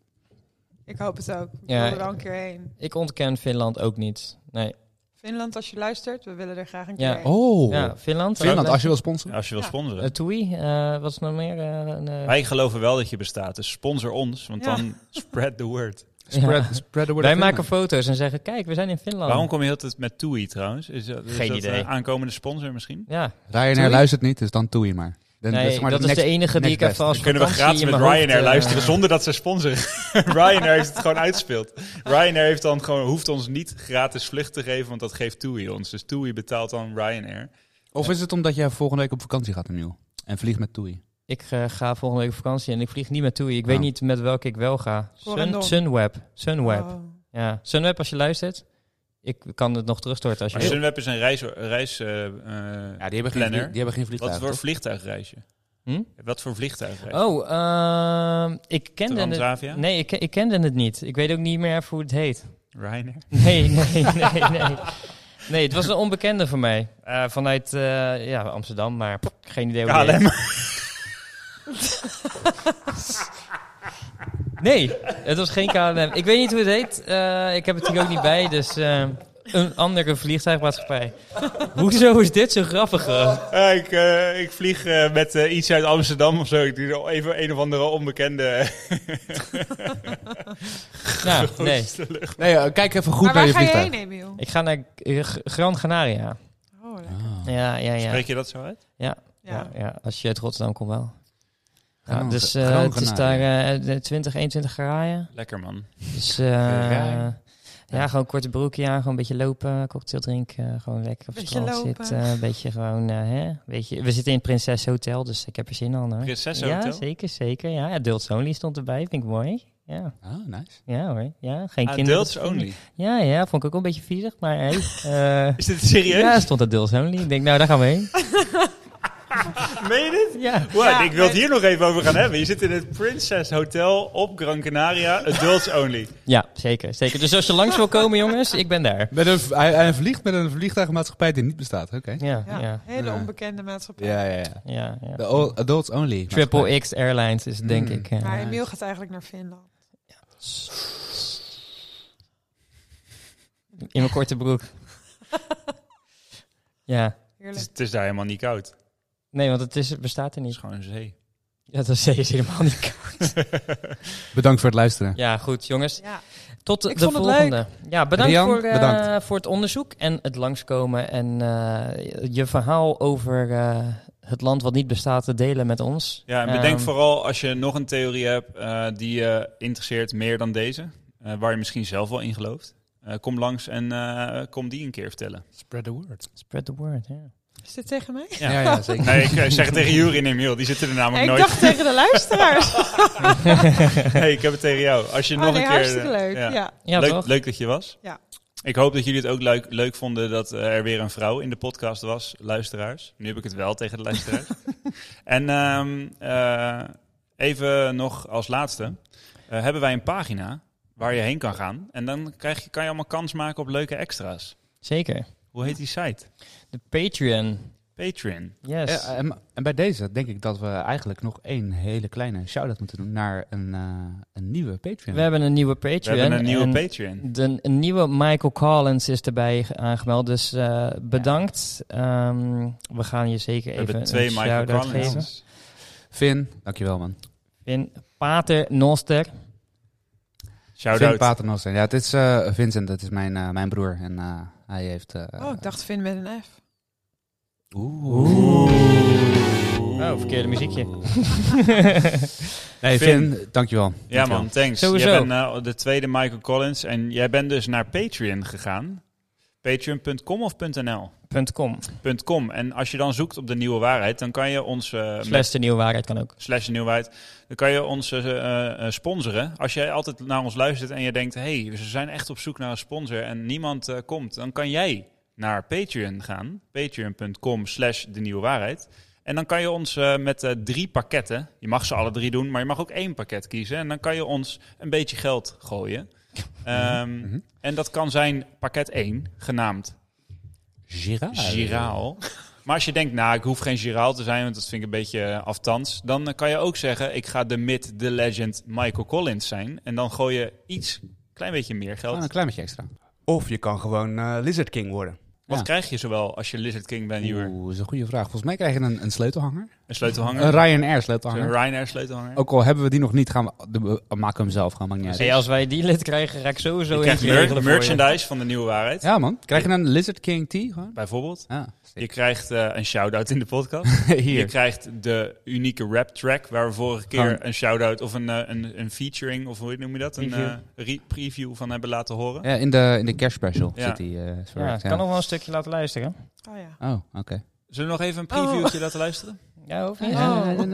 S5: Ik hoop het ook. Ik
S2: Ja.
S5: wil er wel een keer heen.
S2: Ik ontken Finland ook niet. Nee.
S5: Finland, als je luistert, we willen er graag een keer
S2: Ja.
S5: heen.
S4: Oh,
S2: Ja, Finland.
S4: Finland,
S2: eh,
S4: als je wil sponsoren.
S3: Als je wil
S5: Ja.
S3: sponsoren.
S2: eh, Toei, eh, wat is nog meer? Eh, een, eh,
S3: Wij geloven wel dat je bestaat, dus sponsor ons, want
S5: Ja.
S3: dan spread the
S2: [LAUGHS]
S3: word.
S2: Oh.
S4: Spread,
S2: Ja.
S4: spread the word
S2: Wij
S4: of
S2: maken
S4: Finland.
S2: foto's en zeggen, kijk, we zijn in Finland.
S3: Waarom kom je heel de tijd met TUI trouwens? Is dat, is
S2: Geen
S3: dat
S2: idee.
S3: een aankomende sponsor misschien?
S2: Ja,
S4: Ryanair
S2: Doei.
S4: luistert niet, dus dan doe je maar. Dan,
S2: nee,
S4: zeg maar
S2: dat
S4: de
S2: is
S4: next-
S2: de enige die
S4: next
S2: ik even
S4: best.
S2: als
S3: We kunnen we
S2: vakantie
S3: gratis
S2: in
S3: met
S2: mijn hoofd,
S3: Ryanair
S2: eh,
S3: luisteren zonder dat ze sponsoren. [LAUGHS] Ryanair heeft het gewoon uitspeeld. Ryanair heeft dan gewoon, hoeft ons niet gratis vlucht te geven, want dat geeft TUI ons. Dus TUI betaalt dan Ryanair.
S4: Of is het omdat jij volgende week op vakantie gaat opnieuw? En vliegt met Toei.
S2: Ik eh, ga volgende week op vakantie en ik vlieg niet met Toei. Ik weet
S4: Oh.
S2: niet met welke ik wel ga. Sun,
S5: Corendon.
S2: Sunweb. Sunweb.
S5: Oh.
S2: Ja. Sunweb, als je luistert. Ik kan het nog terugstorten als je
S3: Maar
S2: wil.
S3: Sunweb is een reis, reis eh, eh,
S4: Ja, die hebben
S3: Planner.
S4: vlieg- hebben geen
S3: Wat voor
S4: toch?
S3: vliegtuigreisje?
S2: Hm?
S3: Wat voor vliegtuigreis?
S2: Oh, ehm, ik kende het...
S3: Transavia?
S2: Nee, ik, ik kende het niet. Ik weet ook niet meer even hoe het heet. [LAUGHS]
S3: Ryanair?
S2: Nee, nee, nee, nee. Nee, het was een onbekende voor mij. Eh, vanuit eh, ja, Amsterdam, maar pff, geen idee hoe die
S3: KLM.
S2: heet. Nee, het was geen KLM. Ik weet niet hoe het heet. Eh, ik heb het hier ook niet bij, dus eh, een andere vliegtuigmaatschappij. Hoezo is dit zo grappig? eh?
S3: Eh, ik, eh, ik vlieg eh, met eh, iets uit Amsterdam of zo. Ik doe er even een of andere onbekende
S2: nou, nee.
S4: Nee, eh, kijk even goed naar
S5: maar waar
S4: je
S5: ga je
S4: vliegtuig.
S5: heen, Emiel?
S2: Ik ga naar eh, G- Gran Canaria.
S5: Oh, leuk.
S4: Ah.
S2: Ja, ja, ja.
S3: Spreek je dat zo uit?
S2: Ja, Ja,
S5: Ja.
S2: ja, als je uit Rotterdam komt wel. Ja,
S4: Gewoon-
S2: dus eh,
S4: gewoon
S2: het is daar
S4: genaaien.
S2: eh, de 20, 21 graaien.
S3: Lekker man.
S2: Dus eh,
S4: Graaien.
S2: ja, gewoon korte broekje aan, gewoon een beetje lopen, cocktail drinken, eh, gewoon lekker op het
S5: Beetje
S2: strand
S5: lopen.
S2: zitten. Een beetje gewoon, eh, hè, beetje, we zitten in het Prinses Hotel, dus ik heb er zin aan hoor.
S3: Prinsessenhotel?
S2: Ja, zeker, zeker. Ja, Adults Only stond erbij, vind ik mooi. Ja,
S4: Oh, nice.
S2: ja hoor. Ja, geen kinderen.
S3: Adults Ah, only.
S2: Ja, ja, vond ik ook wel een beetje viezig, maar hey. eh,
S3: Is dit serieus?
S2: ja, stond Adults Only. Ik denk, nou, daar gaan we heen.
S5: [LAUGHS]
S3: Meen je dit?
S2: Ja.
S3: Wow,
S5: Ja,
S3: ik wil het
S5: maar-
S3: hier nog even over gaan hebben. Je zit in het Princess Hotel op Gran Canaria, adults only.
S2: ja, zeker, zeker. Dus als je langs wil komen, jongens, ik ben daar.
S4: Met een, v- hij, hij vliegt met een vliegtuigmaatschappij die niet bestaat. Oké.
S2: Ja,
S5: Ja,
S2: ja, ja.
S5: hele
S4: Ja.
S5: onbekende maatschappij.
S4: Ja, ja, ja.
S2: ja,
S4: De o- adults only.
S2: Triple X Airlines is het, denk
S4: Mm.
S2: ik. ja.
S5: Maar Emiel gaat eigenlijk naar Finland.
S2: In mijn korte
S5: [LAUGHS]
S2: broek. ja.
S3: Het is,
S5: Heerlijk.
S3: het is daar helemaal niet koud. Het
S2: Nee, want het, is, het bestaat er
S3: is
S2: niet.
S3: gewoon een zee.
S2: Ja, dat is helemaal niet. koud.
S4: Bedankt voor het luisteren.
S2: Ja, goed, jongens.
S5: Ja,
S2: Tot
S5: Ik
S2: de
S5: vond het
S2: volgende. Ja, bedankt,
S4: Rian,
S2: voor, eh,
S4: bedankt.
S2: voor het onderzoek en het langskomen. En eh, je verhaal over eh, het land wat niet bestaat te delen met ons.
S3: Ja, en bedenk
S2: Ehm,
S3: vooral als je nog een theorie hebt eh, die je interesseert meer dan deze, eh, waar je misschien zelf wel in gelooft. eh, kom langs en eh, kom die een keer
S5: [LAUGHS]
S3: vertellen.
S4: Spread the word.
S2: Spread the word, ja.
S5: is dit tegen mij?
S4: Ja,
S3: Ja.
S4: ja, zeker.
S3: Nee, ik eh, zeg het tegen Jury en Emiel, die zitten er namelijk
S5: ik
S3: nooit.
S5: dacht tegen de luisteraars.
S3: [LAUGHS] Nee, ik heb het tegen jou. Als je
S5: Oh,
S3: nog
S5: nee,
S3: een keer. eh,
S5: hartstikke leuk.
S3: ja.
S5: Ja.
S2: Ja,
S3: leuk,
S2: toch?
S3: leuk dat je was.
S5: Ja.
S3: Ik hoop dat jullie het ook leuk, leuk vonden dat eh, er weer een vrouw in de podcast was, luisteraars. Nu heb ik het wel tegen de luisteraars. en ehm, eh, even nog als laatste. eh, hebben wij een pagina waar je heen kan gaan. En dan krijg je, kan je allemaal kans maken op leuke extra's.
S2: Zeker.
S3: Hoe heet die site?
S2: De Patreon. Eh,
S3: Patreon.
S2: Yes.
S4: Ja, en, en bij deze denk ik dat we eigenlijk nog één hele kleine shout-out moeten doen naar een, eh, een nieuwe Patreon.
S2: We hebben een nieuwe Patreon.
S3: We hebben een nieuwe
S2: en-
S3: Patreon.
S2: De een nieuwe Michael Collins is erbij ge- aangemeld, dus eh, bedankt. Ehm, we gaan je zeker
S3: We
S2: even
S3: hebben twee
S2: een
S3: Michael
S2: shout-out geven.
S3: Collins.
S4: Finn, dankjewel man.
S2: Vin Pater Noster.
S4: Finn
S3: Shout-out.
S4: Paternoster. Ja, het is eh, Vincent, dat is mijn, eh, mijn broer. En eh, hij heeft... eh,
S5: Oh, ik dacht Finn met een F.
S4: Oeh.
S2: Oh, verkeerde [LAUGHS] muziekje.
S4: Nee,
S3: Finn.
S4: Finn, dankjewel.
S3: Ja
S4: Dankjewel.
S3: man, thanks.
S2: Sowieso.
S3: Jij bent eh, de tweede Michael Collins en jij bent dus naar Patreon gegaan. Patreon.com of .nl?
S2: .com.
S3: Eh, .com. En als je dan zoekt op de nieuwe waarheid, dan kan je ons... eh, met- Dus-
S2: Slash de nieuwe waarheid kan ook.
S3: slash de nieuwe waarheid. Dan kan je ons eh, eh, eh, sponsoren. Als jij altijd naar ons luistert en je denkt... hé, hey, ze zijn echt op zoek naar een sponsor en niemand eh, komt... dan kan jij naar Patreon gaan. Patreon.com slash de nieuwe waarheid. En dan kan je ons eh, met eh, drie pakketten... je mag ze alle drie doen, maar je mag ook één pakket kiezen... en dan kan je ons een beetje geld gooien... Ehm,
S4: [LAUGHS] Mhm.
S3: En dat kan zijn pakket 1, genaamd
S4: Giraal.
S3: giraal. Maar als je denkt, nou, ik hoef geen giraal te zijn, want dat vind ik een beetje eh, aftans. Dan eh, kan je ook zeggen, ik ga de mid, de legend Michael Collins zijn. En dan gooi je iets, klein beetje meer geld.
S4: Gewoon Oh, een klein beetje extra.
S6: Of je kan gewoon eh, Lizard King worden.
S3: Wat
S4: ja.
S3: krijg je zowel als je Lizard King bent, Ewer?
S4: Oeh, dat is een goede vraag. Volgens mij krijgen we een, een sleutelhanger.
S3: Een sleutelhanger?
S4: Een Ryanair
S3: Zo'n
S4: sleutelhanger.
S3: Ryanair sleutelhanger?
S4: Ook al hebben we die nog niet, gaan we, de, we maken hem zelf. Gaan, maakt niet uit.
S2: Hey, als wij die lid krijgen, ga ik sowieso
S3: je krijgt
S2: eentje
S3: mer-
S2: regelen voor je.
S3: merchandise van de nieuwe waarheid,
S4: Ja man, krijg je een Lizard King tee gewoon?
S3: bijvoorbeeld.
S4: Ja, [LAUGHS]
S3: Je krijgt eh, een shout-out in de podcast. Je
S4: hier.
S3: krijgt de unieke rap track, waar we vorige keer
S4: Gewoon-
S3: een shout-out of een, eh, een, een featuring, of hoe noem je dat? Een
S2: Review.
S3: eh, re- preview van hebben laten horen.
S4: Ja, in de, in de cash special
S3: Ja.
S4: zit die. eh,
S2: Ja,
S4: verwerkt,
S2: kan
S4: ja.
S2: nog wel een stukje laten luisteren.
S5: Oh ja.
S4: Oh, oké.
S3: Zullen we nog even een previewtje
S2: Oh.
S3: laten luisteren?
S2: Ja, hoeft
S3: Oh.
S2: niet.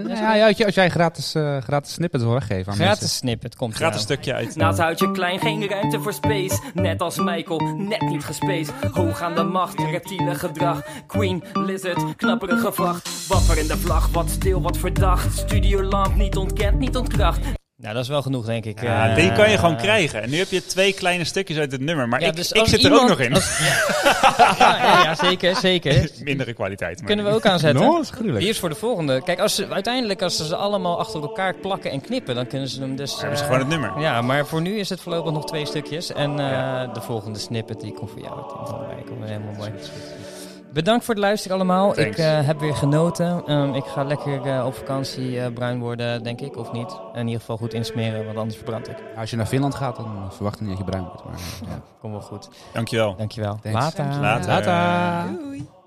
S4: Ja, ja, ja, ja, als je- als jij gratis, eh, gratis snippets wil weggeven aan
S2: Gratis snippet komt
S3: [LAUGHS] Gaat een
S2: eraan.
S3: stukje uit.
S7: Naast huidje klein, geen ruimte voor space. Net als Michael, net niet gespace. Hoog aan de macht, reptiele gedrag. Queen, lizard, knapperige vracht. Wapperende vlag, wat stil, wat verdacht. Studiolamp, niet ontkend, niet ontkracht.
S2: Nou, dat is wel genoeg, denk ik.
S3: Ja,
S2: Eh,
S3: die kan je gewoon krijgen. En nu heb je twee kleine stukjes uit het nummer. Maar
S2: Ja,
S3: ik,
S2: dus
S3: ik
S2: als
S3: zit er ook
S2: iemand-
S3: nog in.
S2: Ja, ja, ja, zeker,
S3: [LAUGHS]
S2: zeker.
S3: Mindere kwaliteit. Maar
S2: Kunnen we ook aanzetten.
S4: mensen. No, dat Nou, is gruwelijk.
S2: Die is voor de volgende. Kijk, als ze, uiteindelijk als ze ze allemaal achter elkaar plakken en knippen, dan kunnen ze hem dus...
S3: Dan hebben ze
S2: eh,
S3: gewoon het nummer.
S2: Ja, maar voor nu is het voorlopig nog twee stukjes. En eh, de volgende snippet die komt voor jou. Ik denk, oh, kijk, dat is helemaal mooi. Bedankt voor het luisteren allemaal.
S3: Thanks.
S2: Ik eh, heb weer genoten. Ehm, ik ga lekker eh, op vakantie eh, bruin worden, denk ik, of niet. In ieder geval goed insmeren, want anders verbrand ik.
S4: mensen. Als je naar Finland gaat, dan verwacht ik niet dat je bruin wordt. Maar, eh, ja.
S2: Kom wel goed.
S3: Dankjewel.
S2: Dankjewel.
S4: Thanks.
S2: Later.
S3: Later.
S4: Later.
S5: Doei.